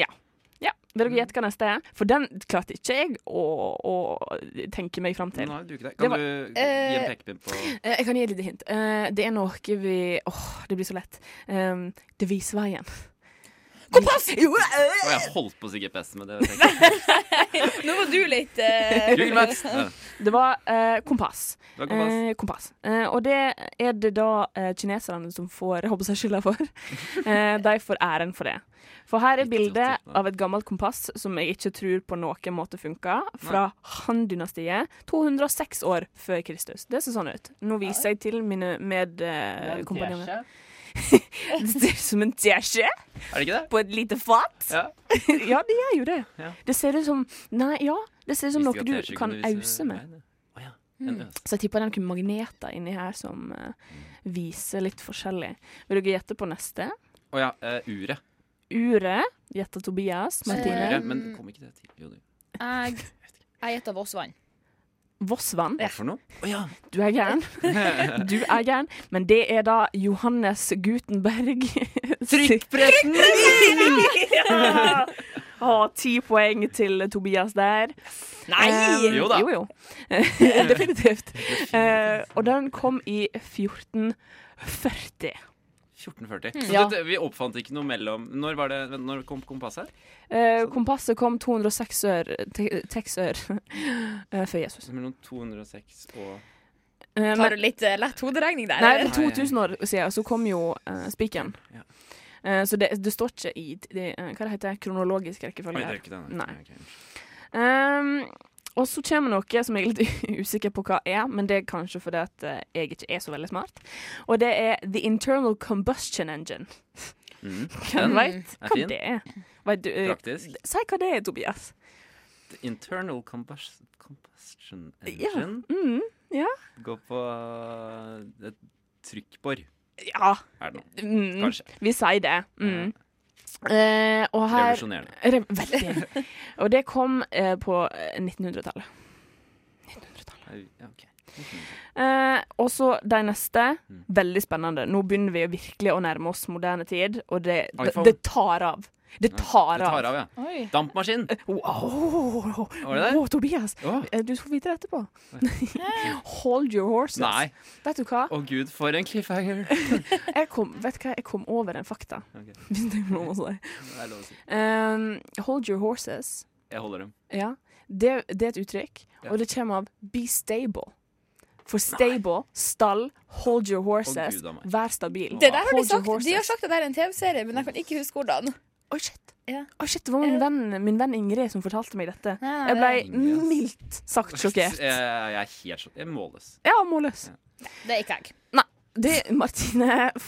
F: ja. ja. Vil dere gjette hva neste er? For den klarte ikke jeg å, å tenke meg fram til.
D: Nei, du ikke det.
F: Det
D: Kan
F: var-
D: du gi en pekepinn på
F: Eh, Jeg kan gi et lite hint. Eh, Det er noe vi Åh, det blir så lett. Um, det viser veien. Kompass! Jo, eh,
D: Å, jeg holdt på å si GPS, men det tenkte jeg.
G: Nå var du litt eh,
D: Google Maps. Ja,
F: Det var eh, kompass.
D: det var kompass.
F: Eh, kompass. Eh, og det er det da eh, kineserne som får håper jeg, skylda for. Eh, de får æren for det. For her er
D: Ikke
F: bildet
D: sant, nei.
F: av et gammelt kompass som jeg ikke tror på noen måte funka, fra Han-dynastiet, 206 år før Kristus. Det ser sånn ut. Nå viser jeg til mine medkompanjonger.
D: Er
F: det ser ut som en teskje
D: det ikke det?
F: på et lite fat.
D: Ja.
F: ja, det gjør jo det.
D: Ja.
F: Det ser ut som Nei, ja. Det ser ut som
D: Visste
F: noe
D: ikke
F: du
D: at teskje
F: kan
D: kunne vise
F: ause med. Mm.
D: veien, ja. eh, Å ja. En øs.
F: Så jeg tipper den kunne magneter inni her som eh, viser litt forskjellig. Vil dere gjette på neste?
D: Å ja, eh, uret.
F: Uret. Gjetta Tobias. Martine.
G: Eh.
D: Uret, Men kom ikke det til? Jo, det.
G: Jeg jeg gjetter Vossvann.
F: Vossvann.
D: Hva for noe? Å ja.
F: Du er gæren. Du er gæren. Men det er da Johannes Gutenberg.
D: Trykkpressen!
F: ja! Å, ti poeng til Tobias der.
G: Nei!
F: Eh,
D: Jo da.
F: Jo, jo. Definitivt. Eh, og den kom i 1440.
D: 1440. Så
F: Mm. Ja.
D: det, vi oppfant ikke noe mellom Når, var det, vent, når kom kompasset? her? Sånn.
F: Eh, kompasset kom 206 ør, te, seks ør eh, før Jesus.
D: Så Mellom 206 og
F: Eh,
G: Har
F: men,
G: du litt eh, lett hoderegning der?
F: nei,
G: eller?
F: men 2000 år siden så kom jo eh, spikeren.
D: Ja.
F: Eh, så det, det står ikke i det, eh, hva det heter kronologisk
D: Oi,
F: rekkefølge.
D: det
F: her.
D: er ikke den.
F: Nei.
D: Ok.
F: Ehm, og så kommer noe som jeg er litt usikker på hva er, men det er kanskje fordi at eh, jeg ikke er så veldig smart. Og det er The Internal Combustion Engine.
D: Mm.
F: Hvem veit
D: er
F: hva
D: fin.
F: det er? Vet du, eh,
D: Praktisk.
F: si hva det er, Tobias.
D: The Internal combus- combustion
F: Ja.
D: engine
F: Mm,
D: går på eh, et trykkbor,
F: ja.
D: er det nå.
F: Mm,
D: Kanskje.
F: vi sier det. Mm. Eh, og her
D: Revolusjonerende.
F: Rev- Veldig. Og det kom eh, på eh, 1900-tallet. 1900-tallet.
D: Au, ja, ok.
F: Eh, og så de neste.
D: Mm.
F: Veldig spennende. Nå begynner vi virkelig å nærme oss moderne tid, og det, det,
D: iPhone.
F: det tar av. Det
D: Ja,
F: tar
D: Det tar
F: av.
D: av, ja.
G: Oi.
D: Dampmaskin!
F: Wow.
D: Var det det?
F: Wow, Tobias,
D: Åh.
F: eh, du får vite det etterpå. Hold your horses.
D: Nei.
F: Vet du hva?
D: Å gud, for en cliffhanger!
F: Jeg kom, vet du hva? Jeg kom over en fakta.
D: Ok, det
F: Hvis det er noe å si.
D: er lov å si.
F: Eh, hold your horses.
D: Jeg holder dem.
F: Ja, det, det er et uttrykk,
D: Ja.
F: og det kommer av be stable. For stable, stall, hold your horses,
D: Gud a meg.
F: vær stabil.
G: Det der har de
F: Hold your
G: sagt. De har
F: horses.
G: sagt at det er en TV-serie, men jeg kan ikke huske hvordan.
F: Oi, shit.
G: Ja.
F: Oi, shit, det var min venn, min venn Ingrid som fortalte meg dette.
G: Nei,
F: Jeg ble
G: det-
D: Ingrid, ass.
F: mildt sagt sjokkert.
D: Jeg, jeg er helt sjokk. Jeg måles.
F: Ja, målløs.
G: Det er ikke jeg.
F: Det, Martine,
D: Jeg greier å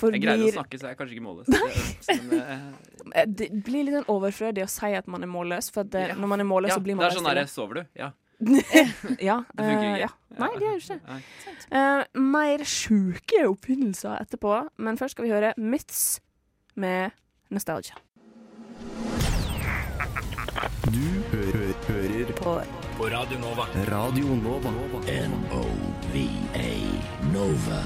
F: forblir
D: snakke, så jeg er kanskje ikke måles. Det- men, eh,
F: Det blir litt sånn overflødig å si at man er målløs, for at det,
D: Ja.
F: når man er målløs,
D: Ja,
F: så
D: det
F: blir man
D: er sånn
F: bare
D: derre Sover du? Ja.
F: stille. Ja,
D: Det funker
F: eh,
D: ikke.
F: ja. Nei, det er jo ikke det.
D: Nei.
F: Eh, mer sjuke oppfinnelser etterpå, men først skal vi høre Myths med Nostalgia.
B: Du hø hø hører på
I: På Radio Nova.
B: Radio Nova.
I: N-O-V-A Nova.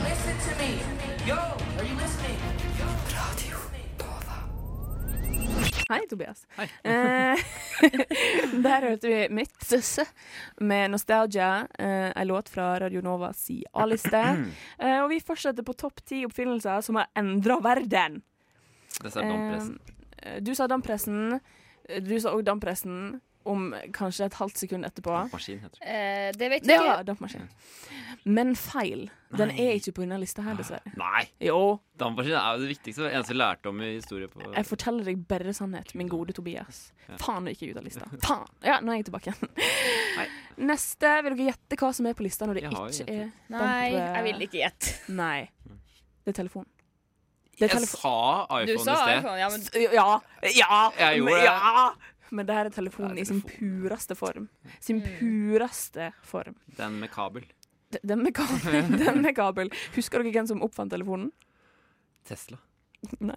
F: Hei, Tobias.
D: Hei.
F: Eh, der hørte vi Myths med Nostalgia, eh, en låt fra Radio Nova si A-liste. Eh, og vi fortsetter på topp ti oppfinnelser som har endra verden.
D: Det er damppressen.
F: Eh, du sa dampressen. eh, Du sa òg dampressen om kanskje et halvt sekund etterpå.
D: Maskin heter det.
G: Eh, det vet
F: Det
G: jeg
F: var
G: ikke.
F: dampmaskin. Men feil. Den er ikke på denne lista her, dessverre.
D: Nei!
F: Jo,
D: Dampmaskin er jo det viktigste. Det eneste jeg lærte om i historie på
F: Jeg forteller deg bare sannhet, min gode Tobias. Faen, du gikk ut av lista. Faen! Ja, nå er jeg tilbake igjen. Neste. Vil dere gjette hva som er på lista når det
D: Jeg har jo
F: ikke er
G: Nei, jeg vil ikke gjette.
F: Nei. Det er telefon. Det er
D: Jeg
F: telefon.
D: sa iPhone
G: Du
D: i
G: sa
D: sted.
G: iPhone, ja, men
F: Ja. Ja.
D: Jeg gjorde
F: men-
D: det.
F: ja. Men det her er telefonen
D: Det er
F: i sin
D: telefonen.
F: pureste form. Sin pureste form.
D: Den med kabel.
F: D- Den med kabel. Den med kabel. Husker dere hvem som oppfant telefonen?
D: Tesla.
F: Nei.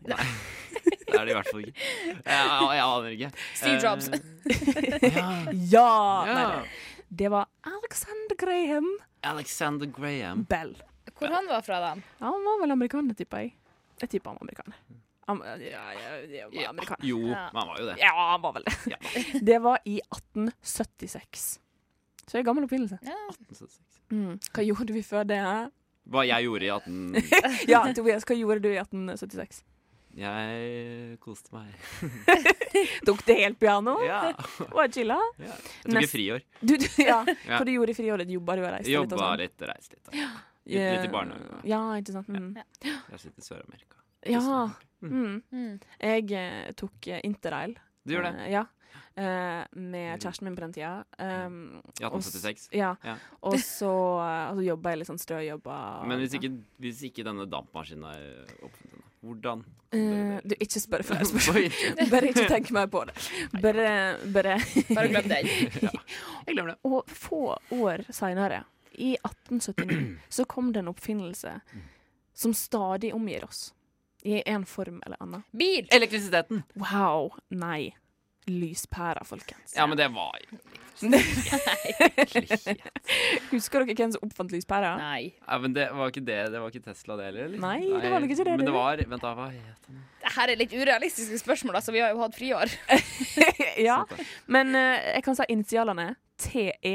D: Det er det i hvert fall ikke. Jeg, jeg, jeg aner ikke.
G: Steve Jobs.
D: Eh, ja.
F: Ja! Nei,
D: ja.
F: nei. det var Alexander Graham
D: Alexander Graham.
F: Bell.
G: hvor han var fra, da.
F: Ja, han var vel amerikaner, tipper jeg. Jeg tipper han var amerikaner. Am ja, ja, ja, ja, amerikaner.
D: Jo,
G: Ja.
D: men han var jo det.
F: Ja, han var vel det.
D: Ja.
F: Det var i 1876. Så det er en gammel oppfinnelse. Mm. Hva gjorde vi før det? hæ?
D: Hva jeg gjorde i 18...
F: Ja, Tobias, hva gjorde du i 1876?
D: Jeg koste meg.
F: Tok det helt piano?
D: Ja.
F: Og chilla?
D: ja. Jeg tok
F: Nest-
D: et friår.
F: Du, du, ja.
D: Ja.
F: Hva du gjorde i friåret? Jobba du og reiste litt? og
D: Jobba
F: sånn? Eh,
D: litt og reiste litt. Da. Litt, litt i barnehagen.
F: Ja, ikke sant. Mm.
D: Jeg sitter i Sør-Amerika. sånn.
F: Ja. Mm.
G: Mm.
F: Jeg eh, tok eh, interrail.
D: Du gjorde det.
F: Eh, ja. Eh, med kjæresten min på den tida. Um,
D: I 1876.
F: Ja.
D: Ja.
F: Og så og så jobba jeg litt sånn strøjobber.
D: Men hvis ikke, hvis ikke denne dampmaskinen er oppfunnet ennå, hvordan
F: Eh, Du, ikke spør flere spørsmål.
D: Oi,
F: Bare ikke tenk mer på det. Bare, bare.
G: Bare glem den.
D: Jeg glemmer det.
F: Og få år seinere, i 1879, så kom det en oppfinnelse som stadig omgir oss. I en form eller annen.
G: Bil!
D: Elektrisiteten!
F: Wow. Nei. Lyspæra, folkens.
D: Ja, men det var jo
F: Husker dere hvem som oppfant lyspæra?
G: Nei.
D: ja, men det var ikke det, det var ikke Tesla det heller? eller?
F: Nei, det var nok ikke det,
D: Men
F: det.
D: det var Vent, da, hva het han?
G: Dette er litt urealistiske spørsmål, altså. Vi har jo hatt friår.
F: ja.
D: Sant det.
F: Men eh, jeg kan si initialene. TE.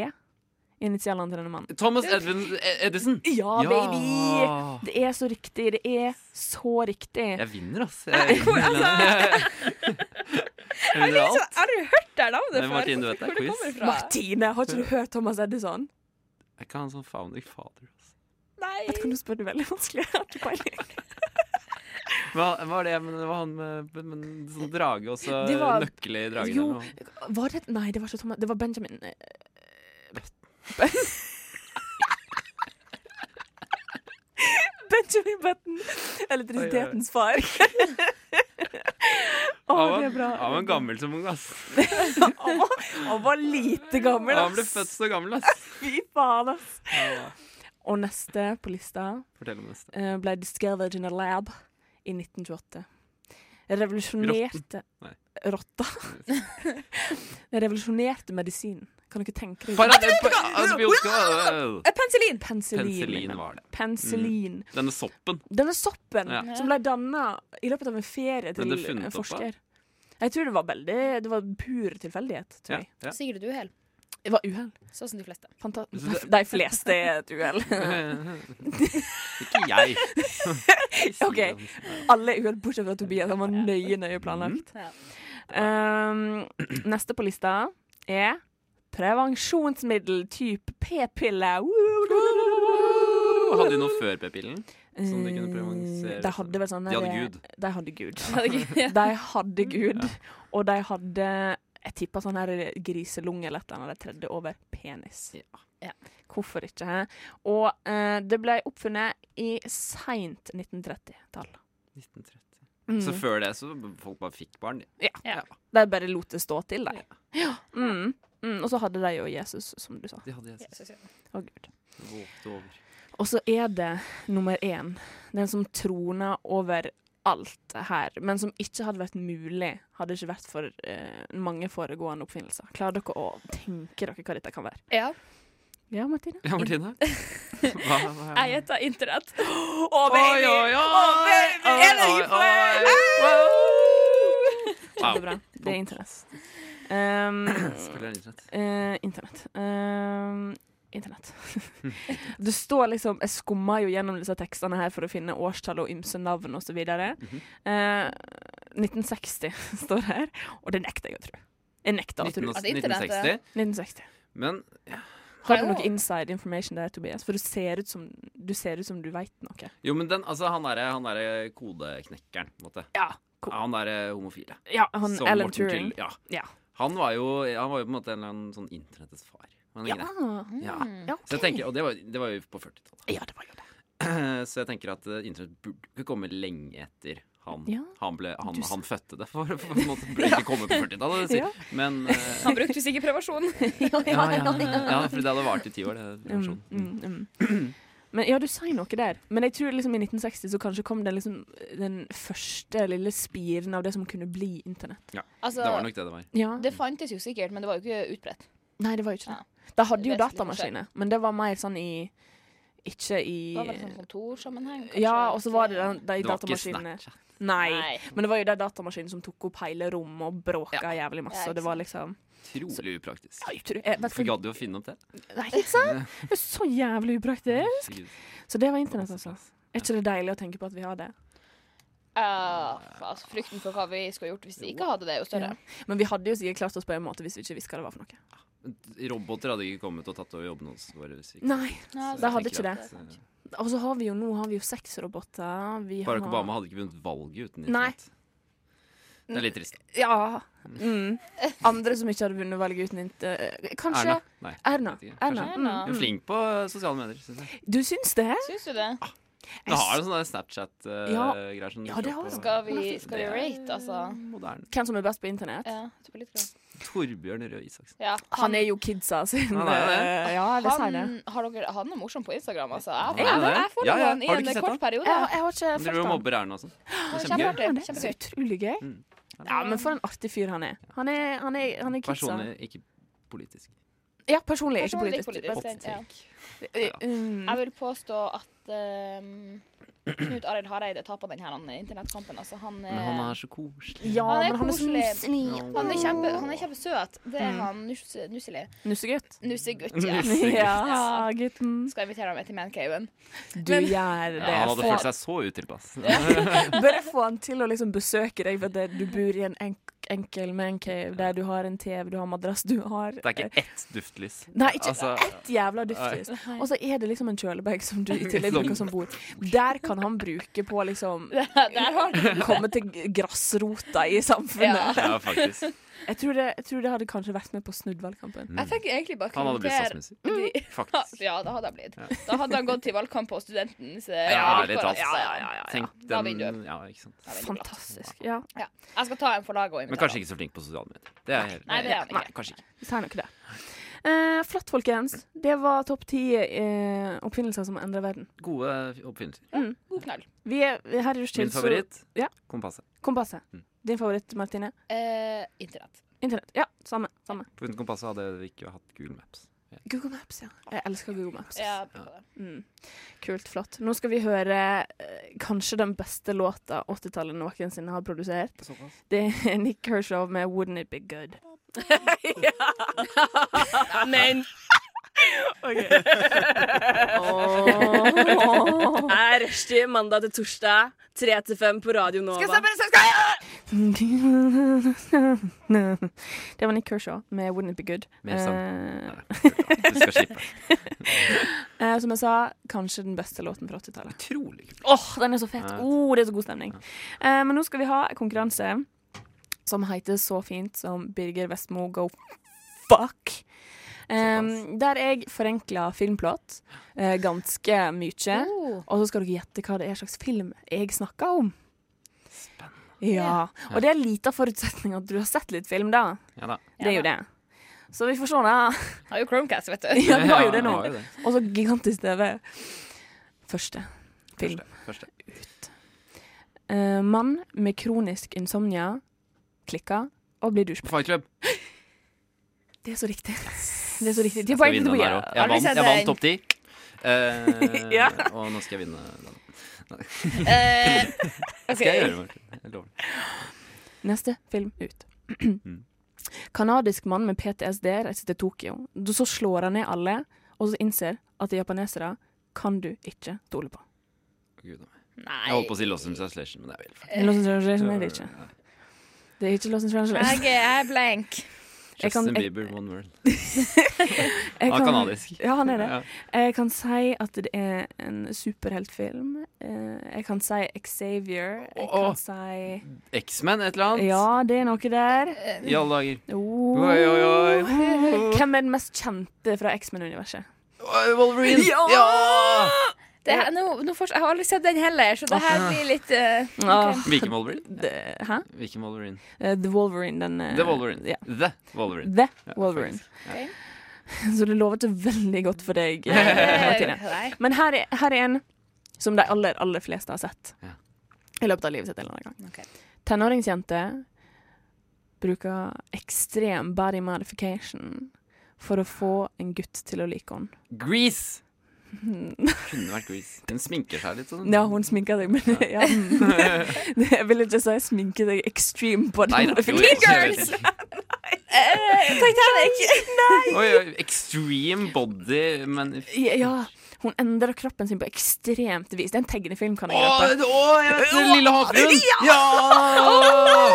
F: Initialene til denne mannen.
D: Thomas Edvin E- Edison!
F: Ja,
D: Ja.
F: baby! Det er så riktig. Det er så riktig.
D: Jeg vinner, ass. Jeg
F: Altså.
D: vinner. Jeg vinner alt.
G: Har du hørt det navnet
D: Men
G: før?
D: Martin, du vet det er
G: Hvor det
D: quiz.
G: kommer fra?
F: Martine, har ikke du hørt Thomas Edison?
D: Jeg er ikke han sånn founding father. ass.
G: Nei.
F: Vet du hva, Nå spør du veldig vanskelig. Jeg har ikke peiling.
D: Hva var det men det var han med, med, med sånn drage og så
F: Det var-
D: nøkkel i dragen?
F: Jo,
D: eller noe?
F: var det Nei, det var ikke Thomas. Det var Benjamin. eh, Benjamin Button. Elektrisitetens far. Å,
D: han, var,
F: det er bra.
D: han var en gammel som ung, ass.
F: Han var- han var lite gammel,
D: Han ble
F: ass.
D: født så gammel, ass.
F: Fy faen, ass. Og neste på lista
D: Fortell om neste.
F: eh, ble discovered in a lab i 1928. Revolusjonerte
D: Nei.
F: Rotta. Revolusjonerte medisinen. Kan dere tenke dere
D: Para- pa- Antibiotika!
F: Eh, Penicillin! Penicillin.
D: Penicillin var det.
F: Penicillin.
D: Denne soppen.
F: Denne soppen
D: Ja.
F: som ble danna i løpet av en ferie til
D: Ble det
F: en
D: funnet opp av?
F: forsker. Jeg tror det var veldig Det var pur tilfeldighet.
D: Ja,
F: Tror jeg.
D: ja.
G: Sikkert et uhell.
F: Det var uhell.
G: Sånn som de fleste.
F: Fanta
D: Så det-
F: De fleste er et uhell.
D: Ikke jeg.
F: OK. Alle er uhell, bortsett fra Tobias. Han var nøye, nøye planlagt.
G: Ja.
F: Um, neste på lista er prevensjonsmiddel type p-piller.
D: Hadde de noe før p-pillen? Sånn de kunne prevensere-
F: De hadde vel sånn
D: De hadde Gud.
F: De hadde Gud.
G: Ja.
F: De hadde Gud, og de hadde jeg tipper sånn her griselunge eller et eller annet de tredde over penis.
D: Ja.
G: Ja.
F: Hvorfor ikke? Hæ? Og eh, det ble oppfunnet i seint 1930-tall.
D: 1930.
F: Mm.
D: Så før det så folk bare fikk barn, de.
F: De bare lot det stå til, de. Ja. Mm. Mm. Og så hadde de jo Jesus, som du sa.
D: De hadde Jesus.
G: Jesus, ja.
F: Å, Gud.
D: Det vågte over.
F: Og så er det nummer én, den som troner over alt her, men som ikke hadde vært mulig hadde det ikke vært for eh, mange foregående oppfinnelser. Klarer dere å tenke dere hva dette kan være?
G: Ja.
F: Ja, Martine?
D: Ja, Martine? Hva, hva
G: Jeg gjetter internett.
F: Å,
D: Oi, oi, oi!
F: Er det
D: Oi,
F: ikke
D: oi, oi. Wow.
F: Kjempebra. Det er internett. Um,
D: Selvfølgelig er det internett.
F: eh, internett. Um, internett. Det står liksom Jeg skumma jo gjennom disse tekstene her for å finne årstall og ymse navn osv. videre
D: Mhm.
F: Eh, 1960 står det her, og det nekter jeg å tro. Jeg altså, nekter å tro.
D: 1960.
F: 1960.
D: Men
F: Har du noe inside information der, Tobias? For du ser ut som du, ser ut som du veit noe.
D: Jo, men den, altså, han derre han derre kodeknekkeren, på en måte.
F: Ja, cool.
D: Han derre homofile.
F: Ja, han
D: Som
F: Alan
D: Morten
F: Turing.
D: Kill- Ja.
F: Ja.
D: Han var jo Han var jo på en måte en eller annen sånn internettets far. Var han
F: Ja.
D: ikke det? ja.
F: ja,
D: Så jeg tenker, Og det var, det var jo på 40-tallet.
F: Mm. ja, det var jo det.
D: Så jeg tenker at eh, internett burde ikke komme lenge etter han,
F: Ja.
D: han, ble, han,
F: Du sa-
D: han fødte det. For, for på en måte burde ikke komme på 40-tallet. det sier-
F: Ja.
D: Men eh,
G: Han brukte sikkert prevensjon.
D: ja, ja, ja, for det hadde vart i ti år. Det,
F: Mm,
D: mm.
F: mm, mm. Men ja, du sier noe der. Men jeg tror liksom i 1960 så kanskje kom den, liksom, den første lille spiren av det som kunne bli internett.
G: Altså,
D: det var nok det det var.
F: Ja.
G: det fantes jo sikkert, men det var jo ikke utbredt.
F: Nei, det var jo ikke det. De hadde jo
G: Vesentlig
F: datamaskiner, men det var mer sånn i Ikke i
G: Det var vel sånn kontorsammenheng. kanskje?
F: Ja, og så var det den- de
D: Det var ikke
F: datamaskinene.
D: Snapchat.
F: Nei.
G: Nei.
F: Men det var jo de datamaskinene som tok opp hele rommet og bråka jævlig masse,
G: Ja,
F: og det
G: ikke
F: var liksom
D: Utrolig upraktisk.
F: ja, jeg tror- jeg vet
D: Hvorfor
F: ikke-
D: gadd de å finne opp det?
F: Nei, ikke sant? Det er så jævlig upraktisk.
D: Herregud.
F: Så det var internett, altså. Er ikke det deilig å tenke på at vi har det?
G: Ja, altså, frykten for hva vi skulle gjort hvis vi ikke hadde det, er jo større.
F: Ja. Men vi hadde jo sikkert klart oss på en måte hvis vi ikke visste hva det var for noe.
D: Roboter hadde ikke kommet og tatt over jobben hos våre hvis ikke-
F: Nei,
G: Ja,
D: Så
F: det
D: jeg
F: hadde
D: tenker
F: ikke
D: at,
G: det.
D: eh,
F: Og så har vi jo nå har vi jo sexroboter. Vi
D: Barack
F: har-
D: Obama hadde ikke vunnet valget uten
F: Nei.
D: internett. Det er litt trist.
F: Ja. Mm. Andre som ikke hadde vunnet valget uten inter... Kanskje
D: Erna. Nei.
F: Erna.
D: Vet ikke.
F: Erna.
D: Kanskje.
F: Mm.
D: Hun er flink på eh, sosiale medier, syns jeg.
F: Du syns det?
G: Syns du det?
D: Hun har sånne Snapchat-greier som
F: Ja,
D: dukker
F: det
D: opp
F: har
D: på-
F: hun.
G: Skal vi,
F: Nei,
G: skal vi rate, altså?
D: Moderne.
F: Hvem som er best på internett?
G: Ja, jeg tror litt grann.
D: Torbjørn Røe Isaksen.
G: ja,
F: Han er jo kidsa sin.
D: Han er det.
F: eh, Ja, det sier
G: han,
F: det.
G: har dere, han er morsom på Instagram, altså.
D: Han er
G: Jeg, jeg,
D: det.
G: jeg, jeg får
D: Ja, ja.
G: han i
D: Har du ikke
G: en
D: sett
G: kort
D: han?
G: periode.
F: Jeg, jeg har ikke
D: Han driver og
F: fulgt ham.
D: mobber Erna og sånn. Det er kjempegøy.
G: Kjempeartig.
F: Det er så
G: Kjempegøy.
F: utrolig gøy.
D: Mm.
F: Ja, men for en artig fyr han er. Han er, han er, han er kidsa.
D: Personlig, ikke politisk.
F: Ja, personlig, ikke
G: Personlig,
F: politisk.
G: ikke
F: But-
G: politisk. Ja.
F: Eh, mm.
G: Jeg vil påstå at ehm, Knut Arild Hareide taper den her han, internettkampen. Altså, han,
D: Men han
G: er-
D: er så koselig.
F: Ja,
G: Han er
F: men han er
G: koselig.
F: så snill.
G: han er kjempe, han er kjempesøt. Det er
F: Mm.
G: han nus, nusselig.
F: Nussegutt.
G: Nussegutt, ja.
F: Ja, gutten.
G: Skal invitere ham med til mancaven.
F: Du gjør det.
D: Ja, han hadde
F: Få-
D: følt seg så utilpass.
F: Bare få han til å liksom besøke deg, for det, du bor i en enk enkel mancave der du har en TV, du har madrass, du har
D: Det er ikke ett duftlys.
F: Nei, ikke
D: Altså,
F: ett jævla duftlys. Og så er det liksom en kjølebag som du i tillegg
D: Som-
F: bruker som bord. Der kan kan han bruke på liksom
G: Der har du
F: Komme til g- grasrota i samfunnet.
D: Ja, faktisk.
F: Jeg, tror det, jeg tror det hadde kanskje vært med på å snudd valgkampen.
G: Jeg tenker egentlig bare
D: Han hadde blitt
G: kommentere
D: statsminister.
G: de-
D: Faktisk.
G: Ja, det hadde han blitt. Da hadde han gått til valgkamp på studentens eh,
D: Ja,
G: vilkår,
D: rett og slett.
G: altså. Ja, ja, ja, ja.
D: Tenk
G: Da vinner
D: den Ja, ikke sant.
G: Da vinner du.
F: Fantastisk. Ja,
G: Ja. Jeg skal ta en for laget og
D: Men
G: invitere.
D: kanskje ikke så flink på sosiale medier. Det er helt
G: Nei, det er han
D: Nei,
G: ikke.
D: kanskje ikke.
F: vi tar nok det. Eh, flott, folkens. Det var topp ti eh, oppfinnelser som endrer verden.
D: Gode oppfinnelser.
G: God knall.
F: Vi er her i Rushtid,
D: Min favoritt
F: ja.
D: kompasset.
F: Kompasset. Din favoritt, Martine?
G: Eh, Internett.
F: Internett. Ja, samme. samme.
D: Uten kompasset hadde vi ikke hatt Google Maps.
F: Google Maps, ja. Jeg elsker Google Maps.
G: Ja, på det.
F: Mm. Kult, flott. Nå skal vi høre eh, kanskje den beste låta 80-tallet noensinne har produsert. Det er Nick Kershaw med 'Wouldn't It Be Good'.
E: Men
F: Åh.
E: er rushtid mandag til torsdag, 3 til 5 på Radio Nova.
F: Det var Nick Kershaw med 'Wouldn't It Be Good'.
D: Mer sånn.
F: Eh,
D: Du skal slippe.
F: eh, som jeg sa, kanskje den beste låten fra 80-tallet.
D: Utrolig kult.
F: Åh, den er så fet!
D: Ja.
F: Åh, det er så god stemning. Eh, men nå skal vi ha en konkurranse som heter så fint som Birger Vestmo go fuck. Eh,
D: Såpass.
F: der jeg forenkler filmplott eh, ganske mye.
D: Oh.
F: Og så skal dere gjette hva det er slags film jeg snakker om. Ja. Og det er lita forutsetning at du har sett litt film, da.
D: Ja da.
F: Det er jo det. Så vi får se, da.
G: Har jo Chromecast, vet du.
F: Ja, vi har jo det nå.
D: Ja, vi har jo det.
F: Og så gigantisk TV. Første film.
D: Første. første.
F: Eh, mann med kronisk insomnia klikker og blir dusjpå.
D: Fight Club.
F: Det er så riktig. Det er så riktig. De har
D: Skal
F: poeng
D: vinne
F: til
D: den
F: Tobias.
D: her også.
G: Har
D: Jeg
G: du
D: vant,
G: sett
D: jeg vant
G: den?
D: topp ti. Eh,
F: Ja.
D: Og nå skal jeg vinne den.
G: Eh,
D: Skal jeg gjøre det? Jeg lover.
F: Neste film ut.
D: Mm.
F: Kanadisk mann med PTSD reiser til Tokyo. Da Så slår han ned alle, og så innser at de japanesere kan du ikke stole på.
D: Gud, da.
G: Nei.
D: jeg holdt på å si Lost in Translation, men det er vel eh, feil.
F: Lost in Translation er det ikke. Det er ikke Lost in Translation.
G: Jeg er blank.
F: Jeg kan-
D: Justin
F: jeg-
D: Bieber, One World.
F: Jeg
D: Han er
F: kan-
D: kanadisk.
F: Ja, han er det.
D: Ja.
F: Jeg kan si at det er en superheltfilm. Eh, Jeg kan si Xavier. Jeg
D: Åh.
F: kan si
D: X-Men, et eller annet?
F: Ja, det er noe der.
D: I alle dager.
F: Oh.
D: Oi, oi, oi.
F: Hvem er den mest kjente fra X-Men-universet?
D: Oi, Wolverine! Ja!
G: Det her, nå, nå får, jeg har aldri sett den heller, så det
D: Ah.
G: her blir litt eh,
F: Åh,
D: Hvilken Wolverine?
F: det- Hæ?
D: Hvilken Wolverine?
F: Eh, The Wolverine. Den, eh,
D: The Wolverine.
F: Ja.
D: The Wolverine.
F: The
D: Ja,
F: Wolverine.
G: Ok.
F: Så det lover ikke veldig godt for deg, eh, Martine.
G: Nei.
F: Men her er, her er en som de aller, aller fleste har sett
D: Ja.
F: i løpet av livet sitt en eller annen gang.
G: Ok.
F: Tenåringsjente bruker ekstrem body modification for å få en gutt til å like henne.
D: Grease! Kunne vært Grease. Hun sminker seg litt sånn.
F: Ja, hun sminker deg, men ja. mm. Det- Jeg vil ikke si sminke deg extreme på
D: Nei,
F: den.
D: da,
F: Det
D: jo,
F: fikk-
D: jo, jeg vet
G: Girls!
D: ikke.
G: Eh, Titanic!
D: Oi, oi, extreme body, men
F: Ja, hun endrer kroppen sin på ekstremt vis. Det er en tegnefilm, kan jeg
D: Å,
F: røpe.
D: det- å, jeg vet det! Lille havfruen! Ja!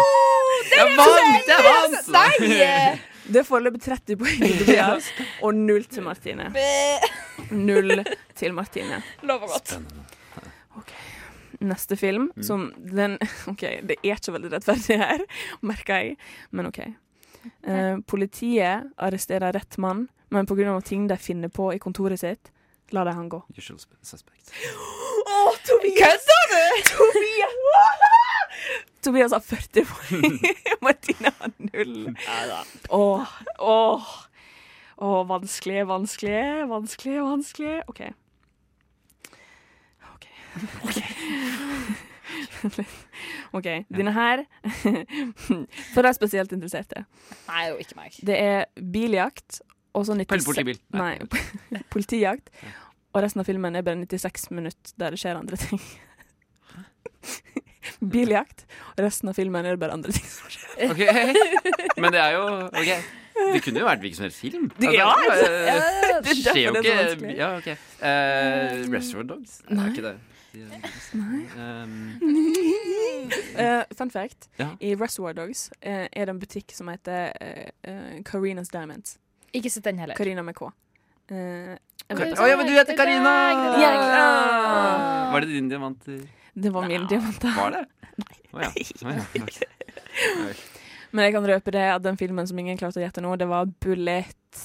D: Jeg vant! Jeg vant!
G: Nei!
F: Det er foreløpig 30 poeng til Tobias, og null til Martine.
G: Eh,
F: Null til Martine.
G: Lover godt.
F: Neste film, som den OK, det er ikke veldig rettferdig her, merker jeg, men OK. Eh, politiet arresterer rett mann, men pga. ting de finner på i kontoret sitt, lar de han gå.
D: Usual suspect.
G: Kødder du?!
F: Tobias har 40 poeng, Martine har null. Åh, åh. Åh, vanskelig, vanskelig, vanskelig, vanskelig. OK. OK. OK. OK. Denne her For de spesielt interesserte.
G: Nei, jo, ikke meg.
F: Det er biljakt og så 96
D: Politibil.
F: Nei, politijakt. Og resten av filmen er bare 96 minutter der det skjer andre ting. Biljakt. Og resten av filmen er det bare andre ting som skjer.
D: Ok, Men det er jo ok. Det kunne jo vært hvilken som helst film.
F: Det- ja,
D: eh,
F: Det
D: det
F: er
D: skjer jo
F: derfor det er så
D: ikke
F: vanskelig.
D: ja, ok. Eh, Restaurant Dogs? Det
F: Nei.
D: Er ikke det. Um, Nei.
F: Eh, fun fact.
D: Ja.
F: I Reservoir Dogs eh, er det en butikk som heter eh, eh, Carina's Diamonds.
G: Ikke sett den heller.
F: Carina med K. Eh,
D: Å ja, men du heter Karina!
G: Ja.
D: Ah. Var det din diamanter?
F: Det var min diamant.
D: Var det? Å ja. Å ja.
F: Men jeg kan røpe det at den filmen som ingen klarte å gjette nå, det var Bullet.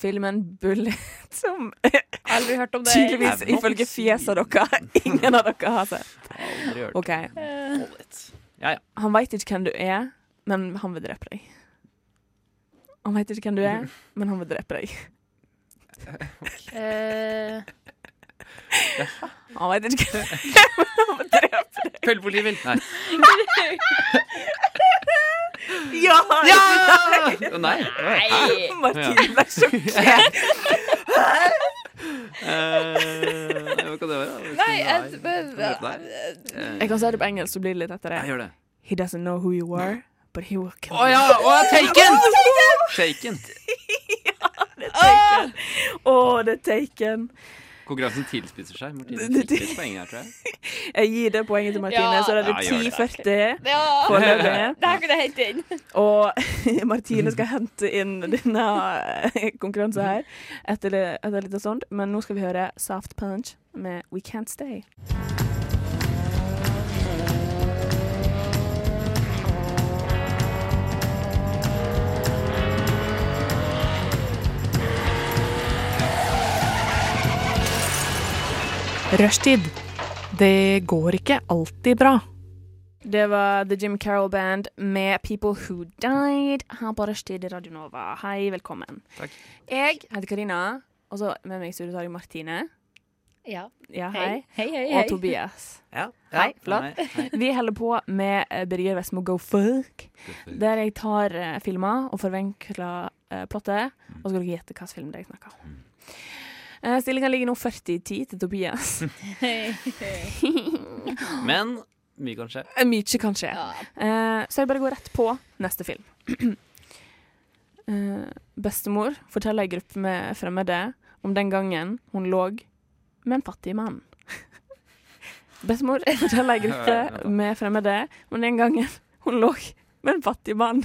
F: Filmen Bullet, som
G: Aldri hørt om det.
F: tydeligvis
D: er nok
F: ifølge fjeset dere ingen av dere har sett.
D: Aldri hørt
F: OK.
D: Eh. Ja, ja.
F: Han veit ikke hvem du er, men han vil drepe deg. Han veit ikke hvem du er, men han vil drepe deg.
G: Eh,
F: Han veit ikke hvem
D: Kveldpolitiet vil. Nei.
F: Ja!
D: Å, Nei.
G: nei.
F: Martine ble sjokkert.
D: Eh, Hva kan det være?
G: Nei, jeg, Eh,
F: Jeg kan si det på engelsk, så blir det litt etter
D: Jeg
F: det.
D: gjør det.
F: He doesn't know who you are, but he will kill
D: Å ja! Å, taken! Taken.
F: Taken. Å, det er taken.
D: Konkurransen tilspisser seg. Martine
F: Det- det-
D: fikk litt poeng her, tror jeg.
F: Jeg gir det poenget til Martine,
G: Ja.
F: så da er det
D: Ja, gjør
F: 10.40
G: ja.
F: foreløpig.
G: Det her kunne jeg hente inn.
F: Og Martine skal hente inn denne konkurransen her etter, det- etter litt sånt. Men nå skal vi høre Soft Punch med We Can't Stay.
J: Rushtid. Det går ikke alltid bra.
F: Det var The Jim Carroll Band med People Who Died her på Rushtid i Radio Nova. Hei, velkommen.
D: Takk.
F: Jeg heter Karina, og så med meg i studio har jeg Martine.
G: Ja.
F: Ja,
G: Hei,
F: hei.
G: hei, hei.
F: Og Tobias.
D: Ja.
F: Hei, flott.
D: Nei, nei.
F: Vi holder på med eh, Birger Vestmo Go Fuck, der jeg tar eh, filmer og forvenkler eh, plottet, og så skal dere gjette hvilken film det er jeg snakker om. Eh, Stillinga ligger nå 40-10 til Tobias.
D: Men mye kan skje.
F: Eh, Mye kan skje. Eh, så jeg bare går rett på neste film. Eh, bestemor forteller ei gruppe med fremmede om den gangen hun lå med en fattig mann. Bestemor forteller ei gruppe med fremmede om den gangen hun lå med en fattig mann.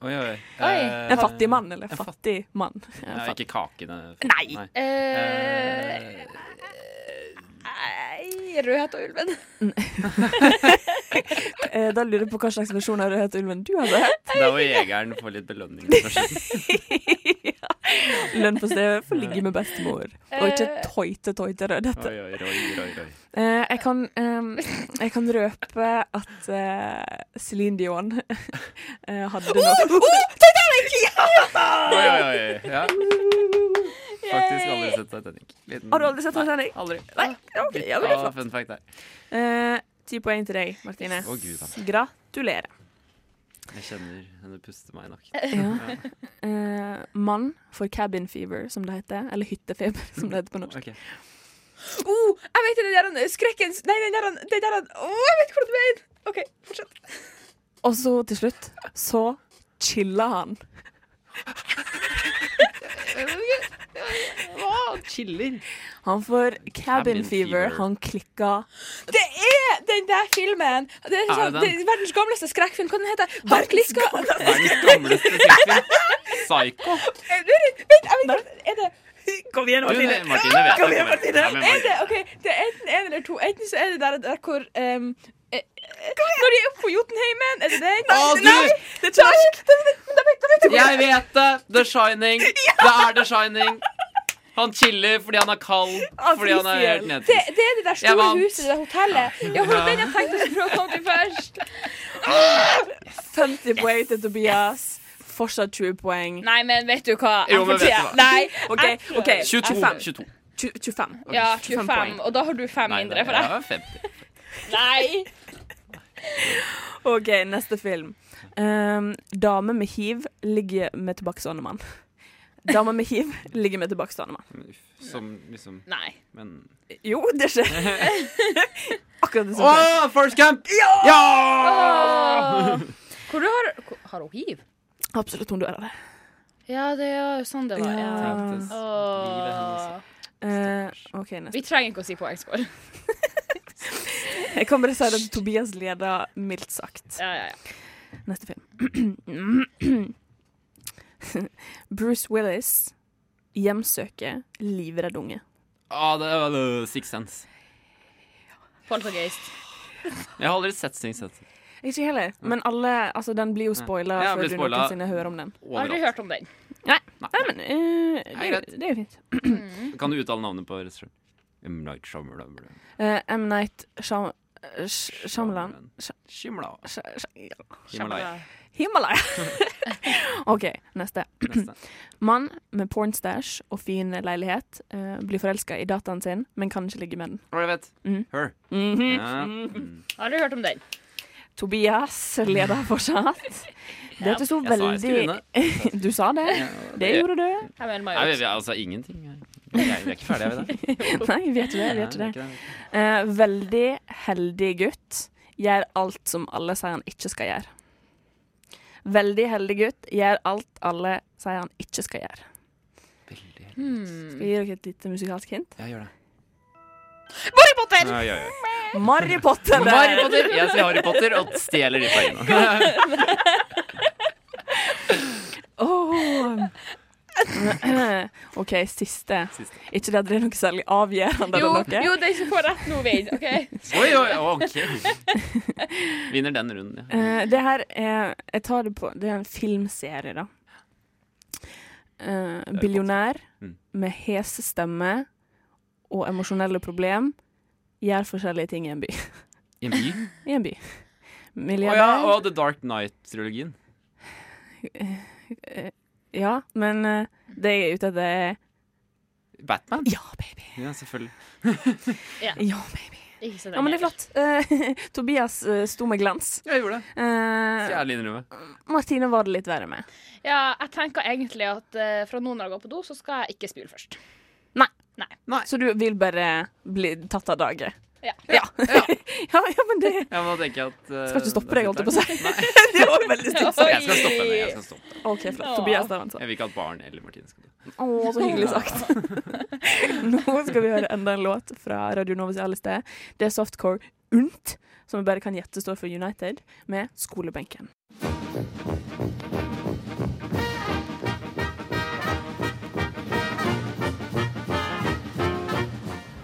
D: Oi, oi.
G: Oi.
D: Eh,
F: En fattig mann, eller
D: en fat-
F: fattig mann. En
D: Ja,
F: fattig-
D: ikke kakene.
F: Nei.
G: Eh,
D: Eh,
G: Nei, Rødhette og ulven.
F: Eh, Da lurer jeg på hva slags versjon av Rødhette ulven du hadde.
D: Der hvor jegeren får litt belønning.
F: Lønn på stedet for å ligge med bestemor, og ikke tøyte, tøyte Rødhette.
D: Eh, Oi, oi, oi, oi, oi.
F: Eh, jeg, kan, ehm, jeg kan røpe at eh, Celine Dion eh, hadde noe
D: Oi, oi, oi. Ja. Faktisk aldri sett Titanic. Liten-
F: Har du aldri sett Titanic?
D: Nei, aldri.
F: Nei, ok, ja, men det er
D: Ah, fun fact der.
F: Eh, Ti poeng til deg, Martine.
D: Å, Gud, da.
F: Gratulerer.
D: Jeg kjenner henne puste meg i nakken.
F: Eh, mann får cabin fever, som det heter. Eller hyttefeber, som det heter på norsk.
D: Ok.
G: Oh, jeg vet den der han- skrekkens Nei, den der han- den der han Å, jeg vet hvor du mener! OK, fortsett.
F: Og så til slutt så chilla han.
G: Hva?
D: Chiller.
F: Han får cabin,
D: Cabin
F: fever.
D: fever.
F: Han klikka
G: Det er den der filmen! Det er, sånn,
D: det
G: det
D: den?
G: er verdens gamleste skrekkfilm. Hva den heter den? Harkliska
D: Verdens gamleste sykkel. Psycho.
G: Er det- Vent, jeg vet ikke. Er det
F: Kom igjen,
D: Du, Martine vet
F: Kom
D: det.
F: igjen, Martine.
D: Ja, men
G: Er det,
D: Martine.
G: ok, det er enten en eller to. Enten så er det der, der hvor ehm, eh, Når de er oppe på Jotunheimen, er det den?
D: Å, du!
G: Det er torsk!
D: Jeg vet det! The Shining. Det er The Shining. Han chiller fordi han er kald. Fordi han er helt
G: Det,
D: nedfryst.
G: det er det der
D: Jeg
G: store
D: vant.
G: huset, det der hotellet. Ja, for den jeg tenkte jeg skulle prøve å komme til først.
F: 50 poeng til Tobias. Fortsatt 20 poeng.
G: Nei, men vet du hva?
D: Jo, men vet du hva?
G: Nei,
F: OK.
G: jeg prøver.
F: ok,
D: 22.
F: fem.
D: 22.
F: Tju- 25.
G: Ja,
F: 25
G: 25,
F: poeng.
G: og da har du fem
D: Nei,
G: mindre
D: det
G: for deg.
D: er 50.
G: Nei!
F: OK, neste film. Um, dame med hiv ligger med tilbakestående mann. Dame med hiv ligger med tilbakestående mann.
D: Som liksom
G: Nei.
D: Men
F: Jo, det skjer. Akkurat det som
D: Å,
F: skjer.
D: First Camp! Ja!
G: Hvor du har hvor- Har hun hiv?
F: Absolutt, hun dør av det.
G: Ja, det er jo sånn det var. Ja.
D: Tenktes livet hennes.
G: Åh.
F: Eh, OK, neste.
G: Vi trenger ikke å si poengscore.
F: Jeg kan bare si at Tobias leder mildt sagt.
G: Ja, ja, ja.
F: Neste film. Bruce Willis hjemsøker livredd unge.
D: Ah, det er vel, uh, Six Sense.
E: Poltergeist.
D: Jeg har aldri sett Six Sense.
F: Ikke heller, men alle, altså, den blir jo spoila
D: Ja, den
F: før
D: blir
F: du
D: spoila.
F: noensinne hører om den.
E: Aldri
D: Overalt.
E: hørt om den.
F: Nei, Nei men eh,
D: Nei,
F: det,
D: greit.
F: det er jo fint.
D: Kan du uttale navnet på regissøren? M. Night Shyamalan.
F: Eh, M. Night Sham- eh, Sh- Shyamalan Sh-
D: Shimla.
F: Sh- Sh-
D: Himalaya.
F: Himalaya! OK, neste.
D: Neste.
F: Mann med pornstash og fin leilighet eh, blir forelska i dataen sin, men kan ikke ligge med den.
D: Å, jeg vet.
F: Mm.
D: Her.
F: Mhm.
D: Ja. Mm.
E: Aldri hørt om den.
F: Tobias leder fortsatt. Det hørtes jo
D: Jeg sa jeg skulle
F: veldig
D: vinne.
F: Du sa det. Det gjorde du.
E: Jeg mener
D: Nei, vi,
E: Majoritz.
D: vi, altså ingenting. Vi er, vi er ikke ferdige, er vi det?
F: Nei, vi vet ikke det. Vi vet ikke
D: Nei,
F: det. Eh, veldig heldig gutt. Gjør alt som alle sier han ikke skal gjøre. Veldig heldig gutt. Gjør alt alle sier han ikke skal gjøre.
D: Veldig heldig.
E: Hmm.
F: Skal jeg gi dere et lite musikalsk hint?
D: Ja, gjør det.
E: Harry Potter!
D: Ja, ja, ja.
F: Mary Potter! der.
D: Harry Potter! Jeg sier Harry Potter og stjeler de poengene.
F: Åh. OK, siste.
D: Siste.
F: Ikke det at det er noe særlig avgjørende.
E: Jo,
F: eller noe.
E: jo, den som får rett nå, vinner. OK?
D: Oi, oi, OK. Vinner den runden, ja.
F: Eh, det her er Jeg tar det på Det er en filmserie, da. Eh, billionær
D: Mm.
F: med hes stemme og emosjonelle problem gjør forskjellige ting i en by.
D: I en by?
F: I en by.
D: Å ja,
F: Milliardær
D: og The Dark Night-trilogien.
F: Ja, men eh, det jeg er ute etter, er
D: Batman?
F: Ja, baby.
D: Ja, selvfølgelig.
F: Ja, baby.
E: Ikke så
F: Ja, men det er flott. Eh, Tobias eh, sto med glans.
D: Ja, jeg gjorde det.
F: Eh,
D: Stjele innrømme.
F: Martine var det litt verre med.
E: Ja, jeg tenker egentlig at eh, fra nå når jeg går på do, så skal jeg ikke spyle først.
F: Så du vil bare bli tatt av dage?
E: Ja.
F: Ja, ja. ja men det
D: Ja, men da tenker jeg at eh,
F: Skal ikke stoppe
D: det
F: deg,
D: er
F: holdt jeg på å
D: fint
F: si. Det var veldig stygt sagt.
D: her. Jeg skal stoppe henne. Jeg skal stoppe henne.
F: OK, flott. Tobias der, altså.
D: Jeg vil ikke at barn eller Martine skal dø.
F: Å, så hyggelig sagt. Nå skal vi høre enda en låt fra Radio Nova sitt alle sted. Det er softcore UNT, som vi bare kan gjette står for United, med Skolebenken.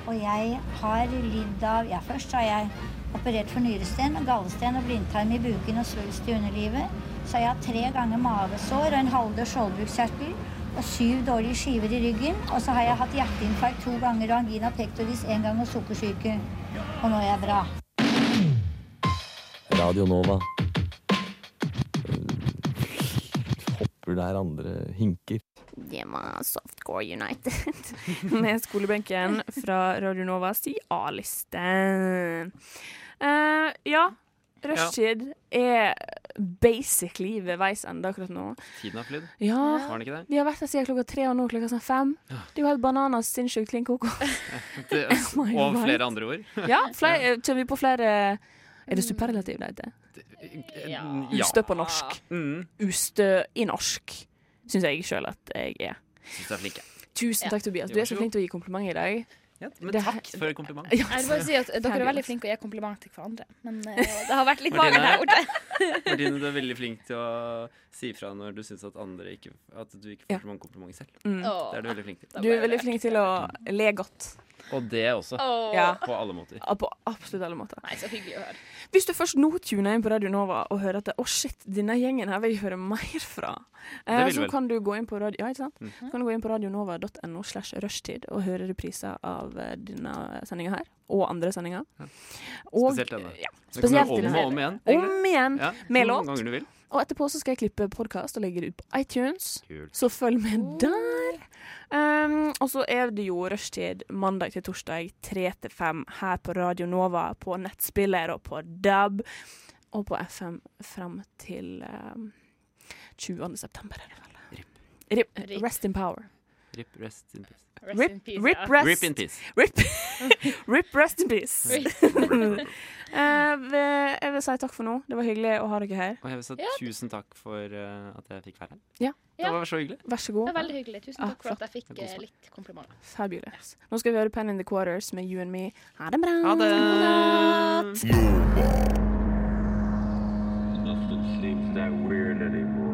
K: Og jeg har lidd av Ja, først har jeg operert for nyresten, gallesten og blindtarm i buken og svulst i underlivet. Så har jeg hatt tre ganger mavesår og en halvdød skjoldbruskkjertel og syv dårlige skiver i ryggen. Og så har jeg hatt hjerteinfarkt to ganger og angina pectoris én gang og sukkersyke. Og nå er jeg bra.
I: Radio Nova. Eh, Hopper der andre hinker.
F: Det var Softcore United med Skolebenken fra Radio Nova si A-liste. Eh, ja, rushtid er basically ved veis ende akkurat nå.
D: Tiden har flydd.
F: Ja,
D: Har den ikke det?
F: Vi har vært her siden klokka tre, og nå er klokka sånn fem. Det er jo helt bananas sinnssykt klin koko.
D: Det-
F: my
D: Og
F: God.
D: flere andre ord.
F: Ja, flere, kommer vi på flere Er det superlativ det heter?
D: Ja.
F: Ustø på norsk.
D: Mm.
F: Ustø i norsk, syns jeg sjøl at jeg er.
D: Syns jeg er flink, jeg.
F: Tusen takk, Tobias. Du er så flink til å gi komplimenter i dag.
D: Ja, men
F: Det her-
D: takk for kompliment.
F: Ja,
G: Jeg vil bare si at
E: eh,
G: Dere er
F: Fabulous.
G: veldig flinke å gi komplimenter til hverandre, men eh, det har vært litt
D: Martine?
G: magert her borte.
D: Martine, du er veldig flink til å si fra når du syns at, andre ikke- at du ikke får
F: Ja.
D: så mange komplimenter selv.
F: mm.
D: Det er du veldig flink til.
F: Du er veldig flink til å le godt.
D: Og det også.
F: Ja.
D: På alle måter.
F: Ja, På absolutt alle måter.
E: Nei, så hyggelig å høre.
F: Hvis du først nå tuner inn på Radio Nova og hører at det, å shit, denne gjengen her vil jeg høre mer fra, eh,
D: Det vil
F: så
D: vel. Mhm.
F: kan du gå inn på, radio, ja, ikke sant? Så kan du gå inn på radionova.no slash rushtid og høre repriser av eh, denne sendinga her. Og andre sendinger. Og-
D: Spesielt denne.
F: Ja,
D: Det kan du
F: spesielt
D: gjøre
F: denne.
D: om og om igjen. egentlig.
F: Om igjen!
D: Ja,
F: med
D: så
F: låt.
D: mange ganger du vil.
F: Og etterpå så skal jeg klippe podkast og legge det ut på iTunes.
D: Kult.
F: Så følg med der. Um, og så er det jo rushtid mandag til torsdag 3 til 5 her på Radio Nova, på nettspiller og på DAB. Og på FM fram til um, 20. september. er det vel? Rip.
E: Rip.
F: Rest in power.
D: Rip, rest in peace.
E: Rest
F: Rip,
E: in peace.
F: rip,
E: ja.
F: rest.
D: Rip in peace.
F: Rip. Rip, rest in peace. Eh, vi- jeg vil si takk for nå. Det var hyggelig å ha dere her.
D: Og jeg vil si tusen takk for eh, at jeg fikk være her.
F: Ja.
D: Det var så hyggelig.
F: Vær så
E: Det
F: god.
E: er veldig hyggelig. Tusen
F: Ja,
E: takk for at jeg
D: Det
E: fikk
D: er god
E: eh,
D: smak.
E: litt komplimenter.
F: Fabulous. Nå skal vi høre Pen in the Quarters med You and Me. Ha det bra.
D: Ha det!
B: Nothing seems that weird anymore.